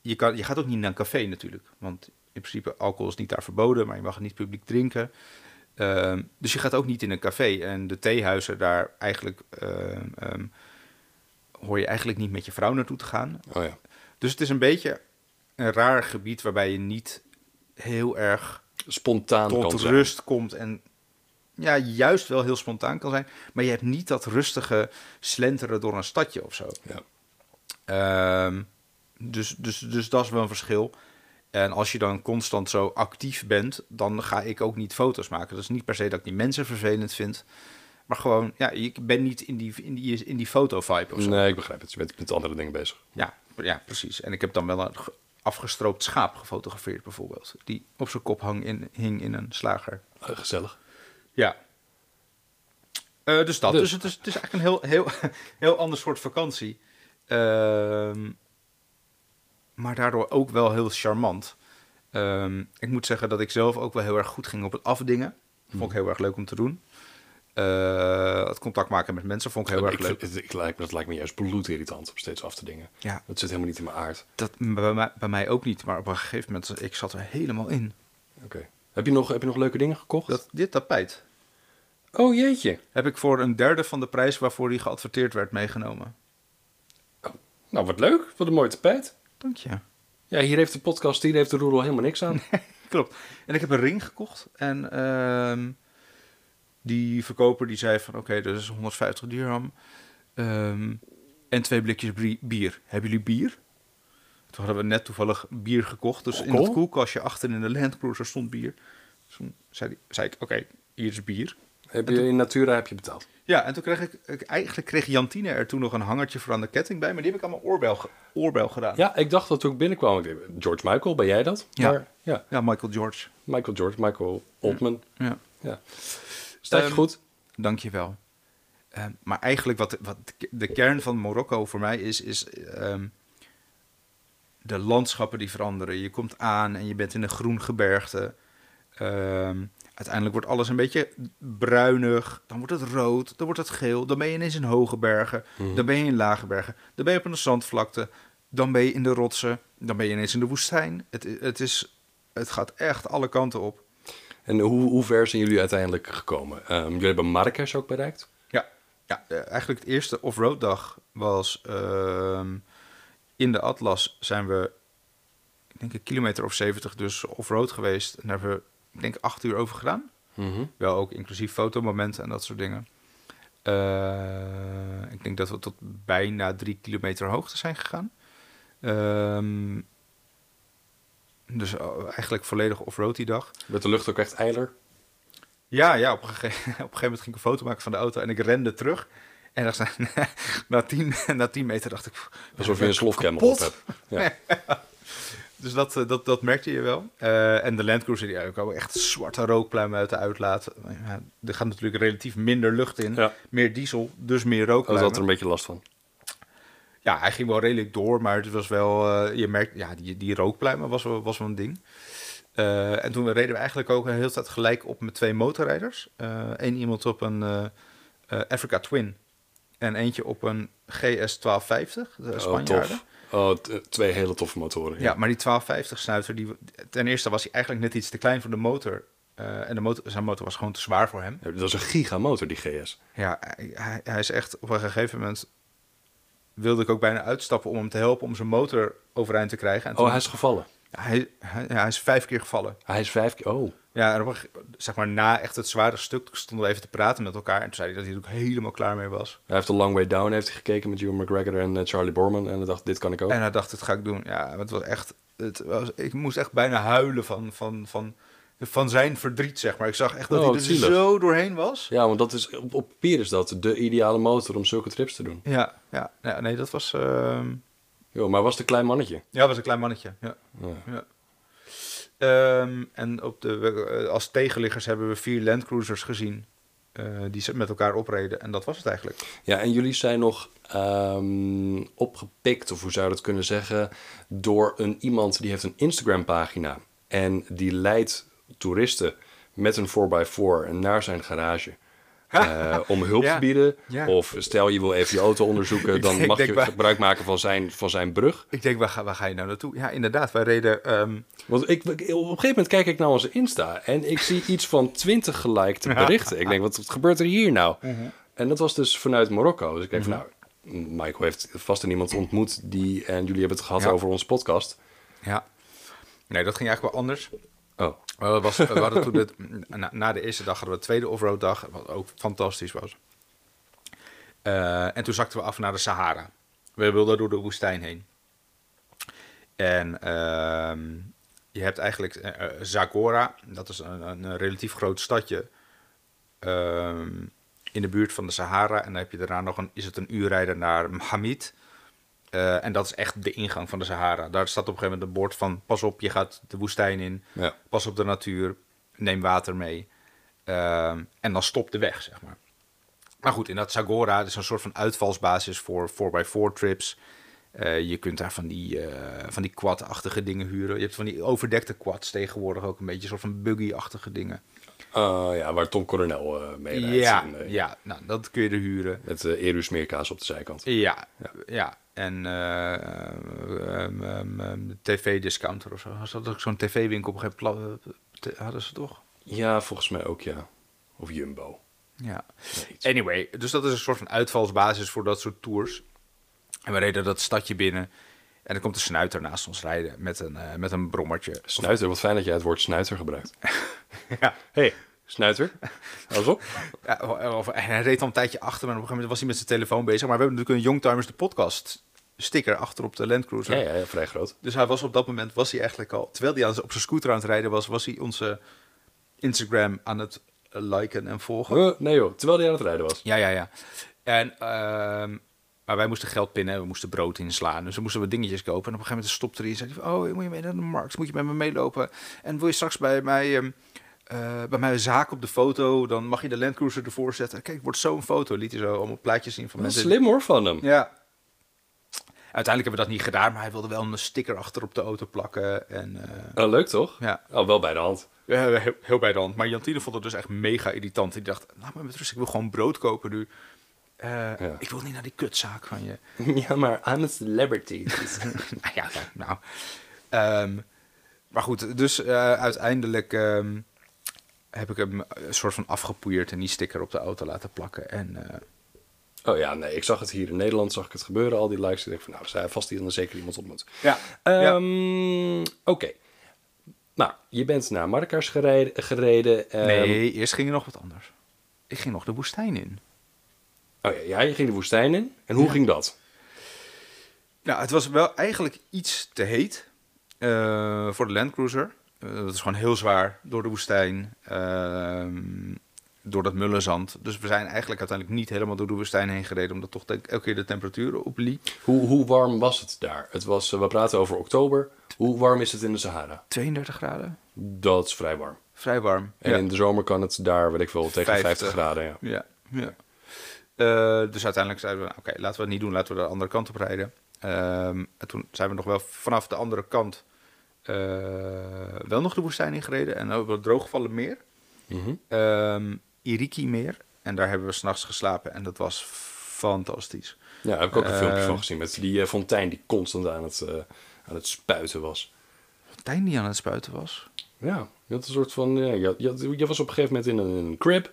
Je, kan, je gaat ook niet naar een café natuurlijk. Want in principe alcohol is niet daar verboden, maar je mag het niet publiek drinken. Ehm, dus je gaat ook niet in een café. En de theehuizen daar eigenlijk. ehm, ehm, hoor je eigenlijk niet met je vrouw naartoe te gaan. Oh ja. Dus het is een beetje een raar gebied waarbij je niet heel erg Spontaan tot kan zijn. rust komt en ja, juist wel heel spontaan kan zijn. Maar je hebt niet dat rustige slenteren door een stadje of zo. Ja. Ehm, dus, dus, dus dat is wel een verschil. En als je dan constant zo actief bent, dan ga ik ook niet foto's maken. Dat is niet per se dat ik die mensen vervelend vind. Maar gewoon, ja, ik ben niet in die, in die, in die foto-vibe of zo. Nee, ik begrijp het. Je bent met andere dingen bezig. Ja, ja, precies. En ik heb dan wel een ge- afgestroopt schaap gefotografeerd bijvoorbeeld. Die op zijn kop hang in, hing in een slager. Eh, gezellig. Ja. Eh, dus dat. Dus. Dus, het, is, het is eigenlijk een heel, heel, heel ander soort vakantie. Ehm, maar daardoor ook wel heel charmant. Ehm, ik moet zeggen dat ik zelf ook wel heel erg goed ging op het afdingen. Vond Hmm. ik heel erg leuk om te doen. Eh, het contact maken met mensen vond ik heel erg ik, leuk. vind- het- ik lijkt me, dat lijkt me juist bloedirritant om steeds af te dingen. Ja. Dat zit helemaal niet in mijn aard. Dat bij mij, bij mij ook niet. Maar op een gegeven moment, ik zat er helemaal in. Oké. Heb, je nog- heb je nog leuke dingen gekocht? Dat, dit tapijt Oh, jeetje. heb ik voor een derde van de prijs waarvoor die geadverteerd werd meegenomen. Nou, wat leuk. Wat een mooi tapijt. Dank je. Ja, hier heeft de podcast, hier heeft de roedel helemaal niks aan. Klopt. En ik heb een ring gekocht. En ehm, die verkoper die zei van... Oké, dat is 150 dirham. Ehm, en twee blikjes brie- bier. Hebben jullie bier? Toen hadden we net toevallig bier gekocht. Dus in Alcohol? het koelkastje achter in de Land Cruiser stond bier. Dus toen zei, die- zei ik, oké, hier is bier. Heb je, in Natura heb je betaald. Ja, en toen kreeg ik, ik... Eigenlijk kreeg Jantine er toen nog een hangertje voor aan de ketting bij. Maar die heb ik aan mijn oorbel, ge- oorbel gedaan. Ja, ik dacht dat toen ik binnenkwam. ik dacht, George Michael, ben jij dat? Ja. Maar, ja. Ja, Michael George. Michael George, Michael Oldman. Ja. Ja. Staat je Ehm, goed? Dankjewel. Ehm, maar eigenlijk wat, wat de kern van Marokko voor mij is, is ehm, de landschappen die veranderen. Je komt aan en je bent in een groen gebergte. Ehm, uiteindelijk wordt alles een beetje bruinig. Dan wordt het rood, dan wordt het geel. Dan ben je ineens in hoge bergen. Dan ben je in lage bergen. Dan ben je op een zandvlakte. Dan ben je in de rotsen. Dan ben je ineens in de woestijn. Het, het, is, het gaat echt alle kanten op. En hoe, hoe ver zijn jullie uiteindelijk gekomen? Ehm, jullie hebben Marrakesh ook bereikt? Ja, ja eh, eigenlijk het eerste off-road dag was ehm, in de Atlas zijn we, ik denk een kilometer of 70 dus off-road geweest. En daar hebben we, ik denk, acht uur over gedaan. Wel ook inclusief fotomomenten en dat soort dingen. Eh, ik denk dat we tot bijna drie kilometer hoogte zijn gegaan. Ehm, dus eh, eigenlijk volledig off-road die dag. Werd de lucht ook echt eiler? Ja, ja op, een gege- op een gegeven moment ging ik een foto maken van de auto en ik rende terug. En dacht, na, tien, na tien meter dacht ik... pff, Alsof je een slofcamel op kapot. hebt. Ja. Dus dat, eh, dat, dat merkte je wel. Eh, en de Land Cruiser, ja, er komen echt zwarte rookpluimen uit de uitlaat. Ja, er gaat natuurlijk relatief minder lucht in. Ja. Meer diesel, dus meer Hij rookpluimen. had er een beetje last van. Ja, hij ging wel redelijk door, maar het was wel... eh, je merkt, ja, die, die rookpluimen was wel, was wel een ding. Eh, en toen reden we eigenlijk ook een hele tijd gelijk op met twee motorrijders. Eén iemand op een eh, eh, Africa Twin en eentje op een GS1250, de Oh, Spanjaarden. tof. Oh, t- twee hele toffe motoren. Ja, maar die 1250 snuiter, die, ten eerste was hij eigenlijk net iets te klein voor de motor. Eh, en de motor, zijn motor was gewoon te zwaar voor hem. Ja, Dat is een gigamotor, die GS. Ja, hij- hij, hij is echt op een gegeven moment wilde ik ook bijna uitstappen om hem te helpen om zijn motor overeind te krijgen. En toen- Oh, hij is gevallen. hij, hij, ja, hij is vijf keer gevallen. Hij is vijf keer... Oh. Ja, en op een gege- zeg maar na echt het zware stuk stonden we even te praten met elkaar. En toen zei hij dat hij er ook helemaal klaar mee was. Hij heeft de Long Way Down heeft hij gekeken met Hugh McGregor en eh, Charlie Borman. En hij dacht, dit kan ik ook. En hij dacht, dit ga ik doen. Ja, maar het was echt. Het was, ik moest echt bijna huilen van, van, van, van zijn verdriet, zeg maar. Ik zag echt dat Oh, hij er wat zielig. zo doorheen was. Ja, want dat is, op, op papier is dat de ideale motor om zulke trips te doen. Ja, ja, ja nee, dat was. ehm, Jo, maar hij was het een klein mannetje. ja, was een klein mannetje. Ja. Ja. Ja. Ehm, en op de, we- eh, als tegenliggers hebben we vier landcruisers gezien. eh, die ze met elkaar opreden. En dat was het eigenlijk. Ja, en jullie zijn nog ehm, opgepikt, of hoe zou je dat kunnen zeggen, door een iemand die heeft een Instagram-pagina. En die leidt toeristen met een 4x4 naar zijn garage. eh, om hulp Ja, te bieden. ja. Of stel je wil even je auto onderzoeken, Ik dan denk- mag denk je wij- gebruik maken van zijn, van zijn brug. Ik denk, waar ga, waar ga je nou naartoe? Ja, inderdaad. Wij reden. ehm, Want ik, ik- op een gegeven moment kijk ik naar onze Insta en ik zie iets van 20 gelikte berichten. Ik denk, wat, wat gebeurt er hier nou? Mhm. En dat was dus vanuit Marokko. Dus ik denk, van, nou, Michael heeft vast een iemand ontmoet die, en jullie hebben het gehad Ja. over onze podcast. ja. Nee, dat ging eigenlijk wel anders. Oh, Maar dat was, we hadden toen het, na, na de eerste dag hadden we de tweede offroad dag, wat ook fantastisch was. Eh, en toen zakten we af naar de Sahara. We wilden door de woestijn heen. En ehm, je hebt eigenlijk eh, eh, Zagora, dat is een, een, een relatief groot stadje ehm, in de buurt van de Sahara. En dan heb je daarna nog een, is het een uur rijden naar Mohammed. Eh, en dat is echt de ingang van de Sahara. Daar staat op een gegeven moment een bord van: pas op, je gaat de woestijn in. Ja. Pas op de natuur. Neem water mee. Ehm, en dan stopt de weg, zeg maar. Maar goed, in dat Zagora is een soort van uitvalsbasis voor 4x4 trips. Eh, je kunt daar van die, eh, van die quad-achtige dingen huren. Je hebt van die overdekte quads tegenwoordig ook een beetje, een soort van buggy-achtige dingen. eh, ja, waar Tom Coronel eh mee rijdt. Ja, En, eh, ja, nou, dat kun je er huren. Met eh Eru smeerkaas op de zijkant. Ja, ja. En eh, ehm, ehm, ehm, de tv-discounter of zo. Was dat ook zo'n tv-winkel op een gegeven moment? pla- eh, te- Hadden ze toch? Ja, volgens mij ook, ja. Of Jumbo. Ja. iets. Anyway, dus dat is een soort van uitvalsbasis voor dat soort tours. En we reden dat stadje binnen. En er komt een snuiter naast ons rijden met een, eh, met een brommertje. Snuiter, wat fijn dat jij het woord snuiter gebruikt. Ja. hey, snuiter. Alles op. Ja, Eh, of- of- en hij reed al een tijdje achter, maar op een gegeven moment was hij met zijn telefoon bezig. Maar we hebben natuurlijk een Youngtimers de podcast sticker achter op de Land Cruiser. Ja, ja, ja, vrij groot. Dus hij was op dat moment, was hij eigenlijk al, terwijl hij aan- op zijn scooter aan het rijden was, was hij onze Instagram aan het liken en volgen. Eh, nee joh, terwijl hij aan het rijden was. Ja, ja, ja. En, ehm, maar wij moesten geld pinnen, en we moesten brood inslaan. Dus we moesten wat dingetjes kopen. En op een gegeven moment stopte hij en zei hij van, oh, moet je mee naar de markt? Moet je met me meelopen? En wil je straks bij mij, ehm, eh, bij mijn zaak op de foto, dan mag je de Land Cruiser ervoor zetten. Kijk, wordt zo'n foto. Liet hij zo allemaal plaatjes zien van Wel mensen. slim hoor van hem. Ja. Uiteindelijk hebben we dat niet gedaan, maar hij wilde wel een sticker achter op de auto plakken. En, eh, Oh, leuk toch? Ja. Oh, wel bij de hand. ja, heel, heel bij de hand. Maar Jantine vond het dus echt mega irritant. Die dacht, laat me met rust, ik wil gewoon brood kopen nu. Eh, Ja. Ik wil niet naar die kutzaak van je. ja, maar I'm a celebrity. nou ja, ja, nou. Ehm, maar goed, dus eh, uiteindelijk ehm, heb ik hem een soort van afgepoeierd en die sticker op de auto laten plakken. En eh, oh ja, nee, ik zag het hier in Nederland, zag ik het gebeuren, al die likes. Ik denk van, nou, zij vast hier dan zeker iemand ontmoet. ja, ja. Ehm, Oké. Nou, je bent naar Marrakesh gereden. gereden ehm, Nee, eerst ging er nog wat anders. Ik ging nog de woestijn in. Oh ja, ja, je ging de woestijn in. En hoe ging dat? Nou, het was wel eigenlijk iets te heet eh, voor de Land Cruiser. Eh, dat is gewoon heel zwaar door de woestijn. Ehm, door dat mullenzand. Dus we zijn eigenlijk uiteindelijk niet helemaal door de woestijn heen gereden, omdat toch denk ik elke keer de temperaturen opliep. Hoe, hoe warm was het daar? Het was, eh, we praten over oktober. Hoe warm is het in de Sahara? 32 graden? Dat is vrij warm. Vrij warm. En ja. in de zomer kan het daar, weet ik wel, tegen 50, 50 graden. Ja. Ja, ja. Eh, dus uiteindelijk zeiden we, oké, laten we het niet doen, laten we de andere kant op rijden. Ehm, en toen zijn we nog wel vanaf de andere kant eh, wel nog de woestijn ingereden en over het drooggevallen meer. Mhm. Ehm Iriki meer. En daar hebben we s'nachts geslapen en dat was fantastisch. Ja, daar heb ik ook een filmpje Eh, van gezien met die eh, fontein die constant aan het, eh, aan het spuiten was. Tijn die aan het spuiten was. Ja, je had een soort van. Ja, je, had- je, had- je was op een gegeven moment in een, in een crib.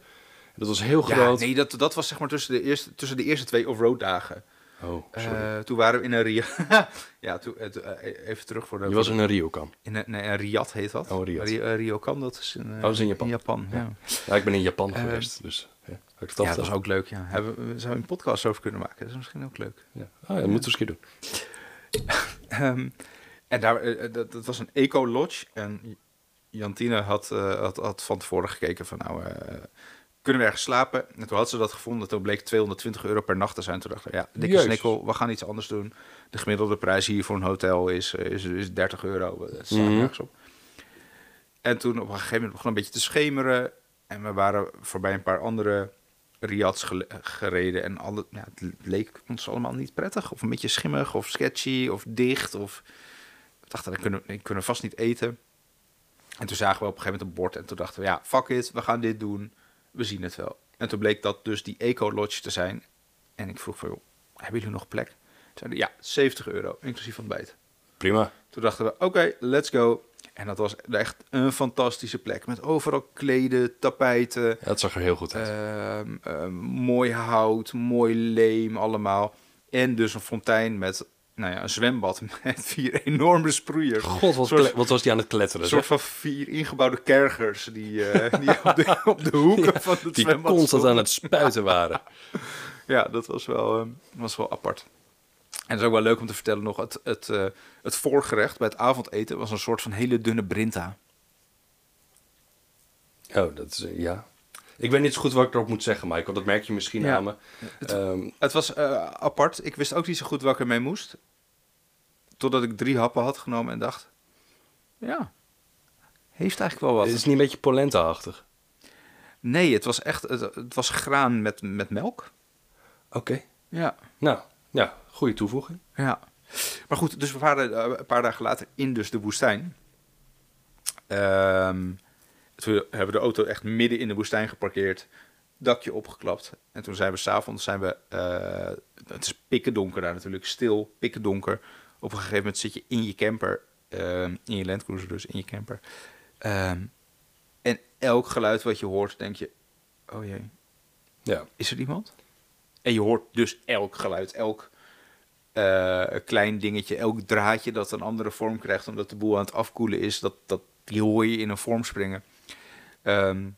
Dat was heel Ja, groot. nee, dat, dat was zeg maar tussen de eerste, tussen de eerste twee offroad dagen. Oh, sorry. Eh, toen waren we in een Riyadh. ja, toen, eh, toen, eh, even terug voor de... je was in een Ryokan. In een, nee, een Riyadh heet dat. Oh, Riyadh. Ri- eh, Ryokan, dat is in, eh, Oh, dat is in Japan. ja. Ja, Ja, ik ben in Japan Eh, geweest, dus ja, had ik het al dat was verteld? ook leuk. Ja. Hebben, we zouden we een podcast over kunnen maken. Dat is misschien ook leuk. Ja. Ah, ja, dat moeten we eens een keer doen. Ehm, en daar, eh, eh, dat, dat was een eco-lodge. En Jantine had, eh, had, had van tevoren gekeken van nou, eh, kunnen we ergens slapen? En toen had ze dat gevonden. Toen bleek 220 euro per nacht te zijn. Toen dacht ik, ja, dikke Jezus. snikkel, we gaan iets anders doen. De gemiddelde prijs hier voor een hotel is, eh, is, is 30 euro. Dat staat Mhm. nergens op. En toen op een gegeven moment begon het een beetje te schemeren. En we waren voorbij een paar andere riads gele- gereden. En alle, ja, het le- leek ons allemaal niet prettig. Of een beetje schimmig, of sketchy, of dicht. Of... We dachten, dat kunnen, we dat kunnen we vast niet eten. En toen zagen we op een gegeven moment een bord. En toen dachten we, ja, fuck it, we gaan dit doen. We zien het wel. En toen bleek dat dus die eco-lodge te zijn. En ik vroeg van, joh, hebben jullie nog plek? Toen zeiden, ja, 70 euro, inclusief ontbijt. Prima. Toen dachten we, oké, let's go. En dat was echt een fantastische plek. Met overal kleden, tapijten, Ja, het zag er heel goed uit. ehm, ehm, mooi hout, mooi leem allemaal. En dus een fontein met, nou ja, een zwembad met vier enorme sproeiers. God, wat, soort- kle- wat was die aan het kletteren? Een soort zeg? van vier ingebouwde kergers die, eh, die op, de, op de hoeken van het Die zwembad constant stonden. aan het spuiten waren. Ja, dat was wel, ehm, was wel apart. En dat is ook wel leuk om te vertellen nog. Het, het, eh, het voorgerecht bij het avondeten was een soort van hele dunne brinta. Oh, dat is, eh, ja. Ik weet niet zo goed wat ik erop moet zeggen, Michael. Dat merk je misschien Ja. aan me. Ehm, Het was eh, apart. Ik wist ook niet zo goed waar ik ermee moest. Totdat ik drie happen had genomen en dacht... Ja, heeft eigenlijk wel het wat. is niet een beetje polenta-achtig. Nee, het was echt... Het, het was graan met, met melk. Oké. Ja. Nou, ja, goede toevoeging. Ja. Maar goed, dus we waren eh, een paar dagen later in dus de woestijn. Ehm, toen hebben we de auto echt midden in de woestijn geparkeerd. Dakje opgeklapt. En toen zijn we s'avonds, zijn we, eh, het is pikken donker daar natuurlijk, stil, pikken donker. Op een gegeven moment zit je in je camper, ehm, in je landcruiser dus, in je camper. Ehm, en elk geluid wat je hoort, denk je, oh jee, Ja. is er iemand? En je hoort dus elk geluid, elk eh, klein dingetje, elk draadje dat een andere vorm krijgt, omdat de boel aan het afkoelen is, dat, dat, die hoor je in een vorm springen. Ehm,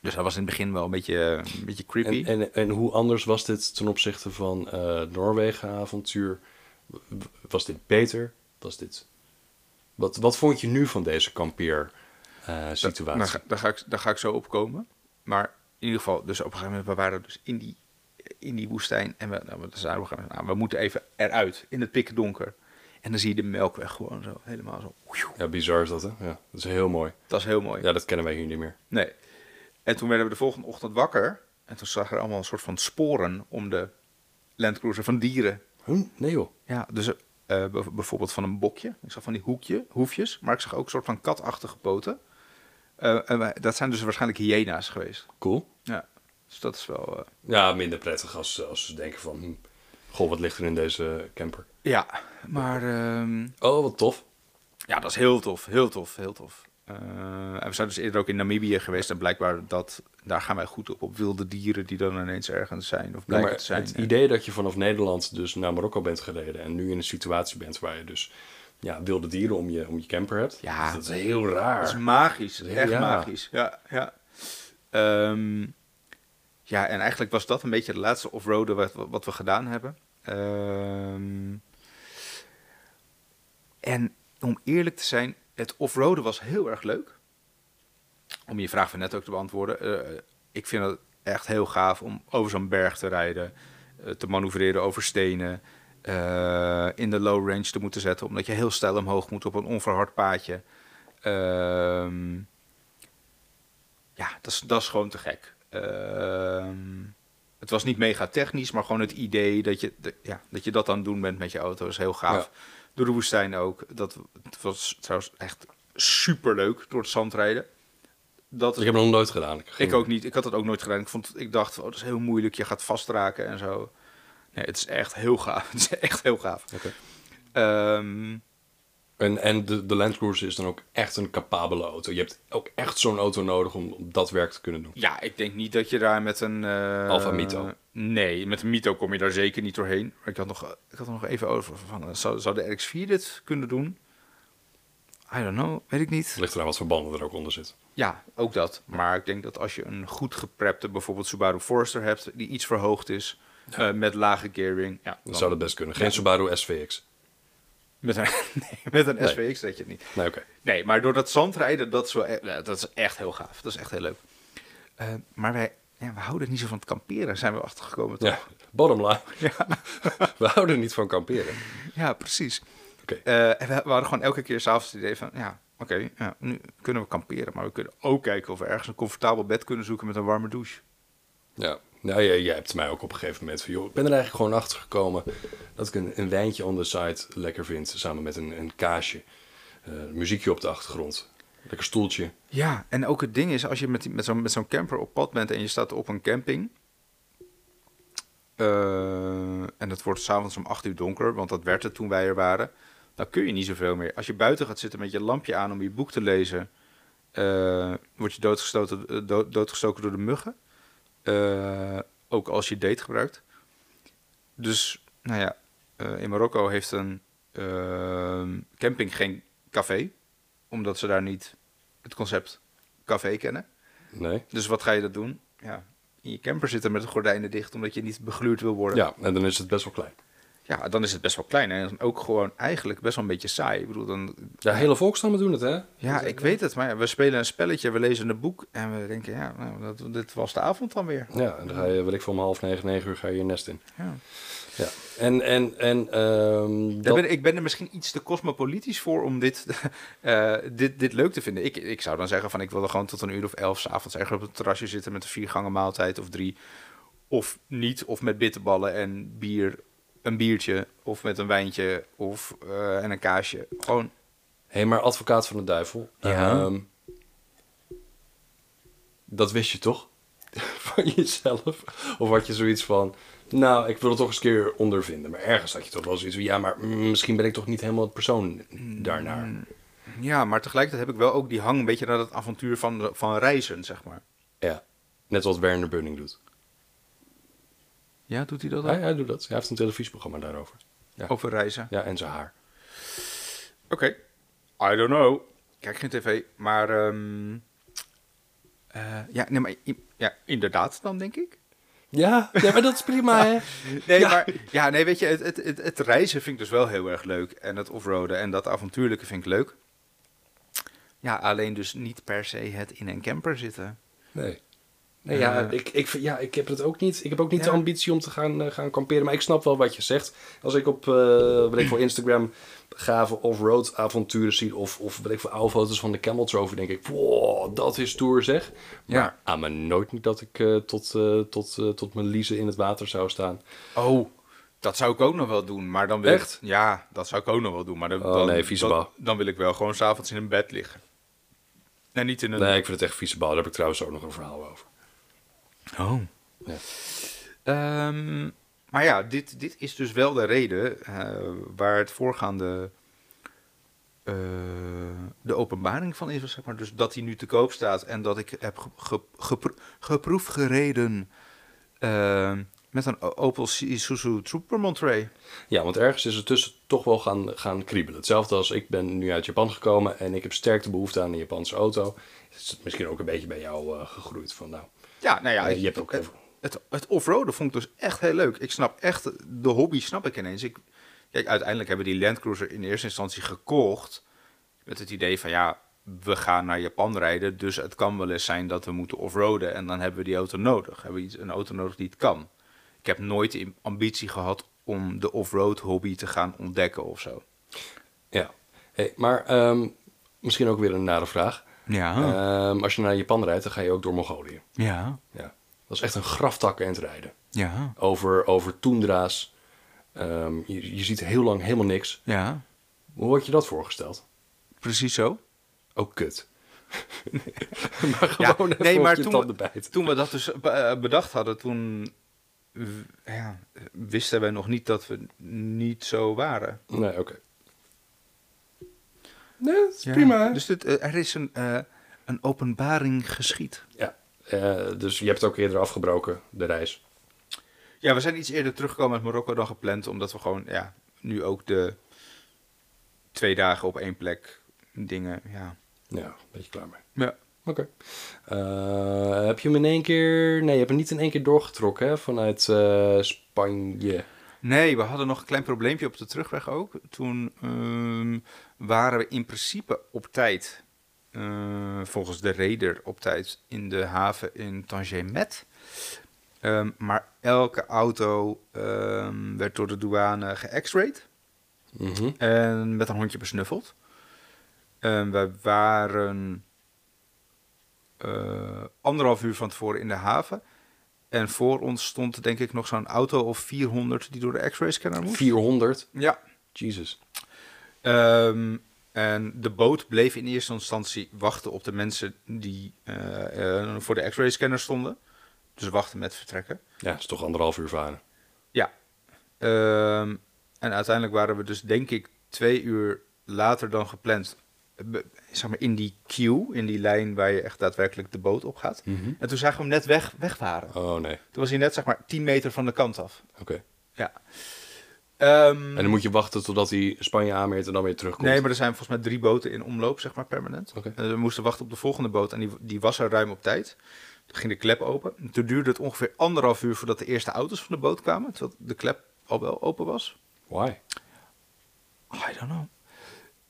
dus dat was in het begin wel een beetje, een beetje creepy. En, en, en hoe anders was dit ten opzichte van eh, het Noorwegen-avontuur? W- w- Was dit beter? Was dit... Wat, wat vond je nu van deze eh, kampeer-situatie? Daar, ga- Nou, daar, ga ik, daar ga ik zo op komen. Maar in ieder geval, dus op een gegeven moment, we waren dus in die, in die woestijn. En we, nou, we zeiden, we, gaan, nou, we moeten even eruit, in het pikken donker. En dan zie je de melkweg gewoon zo, helemaal zo. ja, bizar is dat, hè? Ja, dat is heel mooi. Dat is heel mooi. Ja, dat kennen wij hier niet meer. Nee. En toen werden we de volgende ochtend wakker. En toen zag er allemaal een soort van sporen om de landcruiser van dieren. Huh? Nee, joh. Ja, dus eh, bijv- bijvoorbeeld van een bokje. Ik zag van die hoekje, hoefjes. Maar ik zag ook een soort van katachtige poten. Eh, en wij- dat zijn dus waarschijnlijk hyena's geweest. Cool. Ja. Dus dat is wel... eh, Ja, minder prettig als, als ze denken van... hm, Goh, wat ligt er in deze camper? ja, maar... ehm, Oh, wat tof. Ja, dat is heel tof. Heel tof, heel tof. Eh, en we zijn dus eerder ook in Namibië geweest. En blijkbaar dat... Daar gaan wij goed op. Op wilde dieren die dan ineens ergens zijn. Of Ja, blijken maar te zijn. het En- idee dat je vanaf Nederland dus naar Marokko bent gereden en nu in een situatie bent waar je dus ja, wilde dieren om je, om je camper hebt. Ja. Dus dat is heel raar. Dat is magisch. Ja. Echt magisch. Ja, ja. Ehm, ja, en eigenlijk was dat een beetje de laatste offroaden wat, wat we gedaan hebben. Ehm, en om eerlijk te zijn, het offroaden was heel erg leuk. Om je vraag van net ook te beantwoorden. eh, ik vind het echt heel gaaf om over zo'n berg te rijden, eh, te manoeuvreren over stenen, eh, in de low range te moeten zetten, omdat je heel steil omhoog moet op een onverhard paadje. Ehm, ja, dat is, dat is gewoon te gek. Ehm, het was niet mega technisch, maar gewoon het idee dat je, de- ja, dat, je dat aan het doen bent met je auto is heel gaaf. Door de woestijn ook. Dat het was trouwens echt super leuk door het zand rijden. Dat Ik is heb het nog nooit gedaan. ik ook niet. Ik had dat ook nooit gedaan. Ik, vond, ik dacht, oh, dat is heel moeilijk. Je gaat vastraken en zo. Nee, het is echt heel gaaf. Het is echt heel gaaf. Oké. Ehm, En, en de, de Land Cruiser is dan ook echt een capabele auto. Je hebt ook echt zo'n auto nodig om, om dat werk te kunnen doen. ja, ik denk niet dat je daar met een... eh, Alfa Mito. Nee, met een Mito kom je daar zeker niet doorheen. Maar Ik had, nog, ik had er nog even over van, eh, zou, zou de RX-4 dit kunnen doen? I don't know, weet ik niet. Het ligt eraan wat voor banden er ook onder zitten. Ja, ook dat. Maar ik denk dat als je een goed geprepte, bijvoorbeeld Subaru Forester hebt, die iets verhoogd is, eh, met lage gearing, ja, Dan zou dat best kunnen. Geen Subaru SVX. Met een, nee, met een Nee. SVX weet je het niet. Nee, oké. Nee, maar door dat zandrijden, dat is, wel, e- ja, dat is echt heel gaaf. Dat is echt heel leuk. Eh, maar wij, ja, we houden niet zo van het kamperen, zijn we achtergekomen toch? Ja, bottom line. We houden niet van kamperen. Ja, precies. Oké. Eh, en we, we hadden gewoon elke keer s'avonds het idee van, ja, oké, ja, nu kunnen we kamperen. Maar we kunnen ook kijken of we ergens een comfortabel bed kunnen zoeken met een warme douche. Ja. Nou, jij, jij hebt mij ook op een gegeven moment van... joh, ik ben er eigenlijk gewoon achter gekomen... dat ik een, een wijntje on the side lekker vind... samen met een, een kaasje. Eh, muziekje op de achtergrond. Lekker stoeltje. Ja, en ook het ding is, als je met, die- met zo'n met zo'n camper op pad bent en je staat op een camping. eh, en het wordt s'avonds om 8 uur donker, want dat werd het toen wij er waren. Dan kun je niet zoveel meer. Als je buiten gaat zitten met je lampje aan om je boek te lezen, eh, word je doodgestoten, eh, dood, doodgestoken door de muggen. Eh, ook als je date gebruikt. Dus, nou ja, eh, in Marokko heeft een eh, camping geen café, omdat ze daar niet het concept café kennen. Nee? Dus wat ga je dat doen? Ja, in je camper zitten met de gordijnen dicht, omdat je niet begluurd wil worden. Ja, en dan is het best wel klein. Ja, dan is het best wel klein hè. en ook gewoon eigenlijk best wel een beetje saai. Ik bedoel, dan, Ja, hele volkstammen doen het, hè? ja, ik weet het, maar ja, we spelen een spelletje, we lezen een boek en we denken, ja, nou, dat, dit was de avond dan weer. Ja, en dan ga je, weet ik, voor om half negen, negen uur ga je je nest in. Ja. Ja. En, en, en... ehm, Daar dat... ben, ik- ik ben er misschien iets te cosmopolitisch voor om dit, eh, dit, dit leuk te vinden. Ik, ik zou dan zeggen van ik wil er gewoon tot een uur of elf s'avonds ergens op het terrasje zitten met een viergangen maaltijd of drie. Of niet, of met bitterballen en bier, een biertje of met een wijntje of, eh, en een kaasje. Gewoon, Hé, maar advocaat van de duivel. Ja. ehm, dat wist je toch? van jezelf? Of had je zoiets van... Nou, ik wil het toch eens een keer ondervinden. Maar ergens had je toch wel zoiets van... Ja, maar mm, misschien ben ik toch niet helemaal het persoon daarnaar. ja, maar tegelijkertijd heb ik wel ook die hang een beetje naar dat avontuur van, van reizen, zeg maar. Ja. Net zoals Werner Bunning doet. Ja, doet hij dat Hij, hij doet dat. Hij heeft een televisieprogramma daarover. Ja. Over reizen. Ja, en zijn haar. Oké. I don't know. Kijk geen tv, maar... ehm, eh, ja, nee, maar i- ja, inderdaad dan, denk ik. Ja, ja maar dat is prima, hè? Nee, maar... Ja, nee, weet je, het, het, het, het reizen vind ik dus wel heel erg leuk. En het offroaden en dat avontuurlijke vind ik leuk. Ja, alleen dus niet per se het in een camper zitten. Nee. Nee, ja, ik, ik, vind- ja, ik heb het ook niet. Ik heb ook niet de Eh. Ja. ambitie om te gaan, eh, gaan kamperen. Maar ik snap wel wat je zegt. Als ik op eh weet ik voor Instagram gave off-road avonturen zie. Of, of weet ik voor oude foto's van de Camel Trophy. Denk ik, wow, dat is tour zeg. Maar Ja. aan me nooit niet dat ik eh, tot, eh, tot, eh, tot mijn liezen in het water zou staan. Oh, dat zou ik ook nog wel doen, maar dan wil ik- Echt? ja, dat zou ik ook nog wel doen, maar dan, Oh, dan, nee, vieze dan, bal. dan wil ik wel gewoon s'avonds in een bed liggen. En niet in een... Nee, ik vind het echt vieze bal. Daar heb ik trouwens ook nog een verhaal over. Oh. Ja. Ehm, maar ja, dit, dit is dus wel de reden eh, waar het voorgaande eh, de openbaring van is, zeg maar. Dus dat hij nu te koop staat en dat ik heb ge, ge- gepro- geproef gereden eh, met een O- Opel Isuzu Supermont Ray. Ja, want ergens is het tussen toch wel gaan, gaan kriebelen. Hetzelfde als ik ben nu uit Japan gekomen en ik heb sterk de behoefte aan een Japanse auto. Is het misschien ook een beetje bij jou eh, gegroeid van nou. Ja, nou ja, Eh, je hebt ook het, even- het, het off-roaden vond ik dus echt heel leuk. Ik snap echt, de hobby snap ik ineens. Ik, kijk, uiteindelijk hebben die Land Cruiser in eerste instantie gekocht. Met het idee van ja, we gaan naar Japan rijden, dus het kan wel eens zijn dat we moeten offroaden en dan hebben we die auto nodig. Hebben we iets- een auto nodig die het kan. Ik heb nooit de ambitie gehad om de offroad hobby te gaan ontdekken of zo. Ja, hey, maar ehm, misschien ook weer een nare vraag. Ja. Ehm, als je naar Japan rijdt, dan ga je ook door Mongolië. Ja, Ja. Dat is echt een graftakken aan het rijden. ja, Over, over toendra's. Ehm, je, je ziet heel lang helemaal niks. ja, Hoe word je dat voorgesteld? precies zo. Ook kut. maar Ja, gewoon even nee, maar je toen, tanden we- bijten. toen we dat dus eh, bedacht hadden, toen w- ja, wisten wij nog niet dat we niet zo waren. Nee, oké. Nee, dat is Ja. prima. Dus dit, eh, er is een, eh, een openbaring geschied. ja. Eh, dus je hebt het ook eerder afgebroken, de reis. Ja, we zijn iets eerder teruggekomen uit Marokko dan gepland, omdat we gewoon ja, nu ook de twee dagen op één plek dingen. Ja. Ja, een beetje klaar mee. ja. Oké. Eh, heb je hem in één keer... Nee, je hebt hem niet in één keer doorgetrokken, hè? Vanuit eh, Spanje. Nee, we hadden nog een klein probleempje op de terugweg ook. Toen ehm, waren we in principe op tijd, eh, volgens de reder op tijd, in de haven in Tangemet. Ehm, maar elke auto ehm, werd door de douane ge-x-rayed Mhm. en met een hondje besnuffeld. En we waren eh, anderhalf uur van tevoren in de haven. En voor ons stond denk ik nog zo'n auto of 400 die door de x-ray scanner moest. 400. Ja. Jesus. Ehm, en de boot bleef in eerste instantie wachten op de mensen die eh, eh, voor de x-ray scanner stonden. Dus wachten met vertrekken. Ja, dat is toch anderhalf uur varen. Ja. Ehm, en uiteindelijk waren we dus denk ik twee uur later dan gepland. eh, Be- Zeg maar in die queue, in die lijn waar je echt daadwerkelijk de boot op gaat. En toen zagen we hem net weg, wegvaren. Oh, nee. Toen was hij net zeg maar 10 meter van de kant af. Oké. Ja. Ehm, En dan moet je wachten totdat hij Spanje aanmeert en dan weer terugkomt. nee, maar er zijn volgens mij drie boten in omloop, zeg maar permanent. Oké. En we moesten wachten op de volgende boot en die, die was er ruim op tijd. Toen ging de klep open. En toen duurde het ongeveer anderhalf uur voordat de eerste auto's van de boot kwamen. Terwijl de klep al wel open was. Why? I don't know.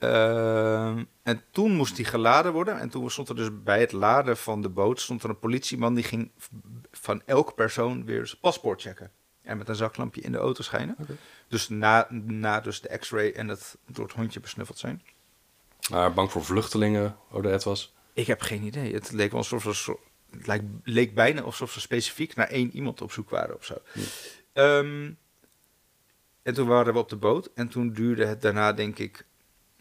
Ehm, en toen moest die geladen worden. En toen stond er dus bij het laden van de boot... stond er een politieman die ging v- van elk persoon weer zijn paspoort checken. En met een zaklampje in de auto schijnen. Dus na, na dus de x-ray en het door het hondje besnuffeld zijn. Maar Ah, bang voor vluchtelingen, Odette was. Ik heb geen idee. Het leek, wel alsof ze, zo- het leek, leek bijna alsof ze specifiek naar één iemand op zoek waren of zo. Ehm, en toen waren we op de boot. En toen duurde het daarna, denk ik,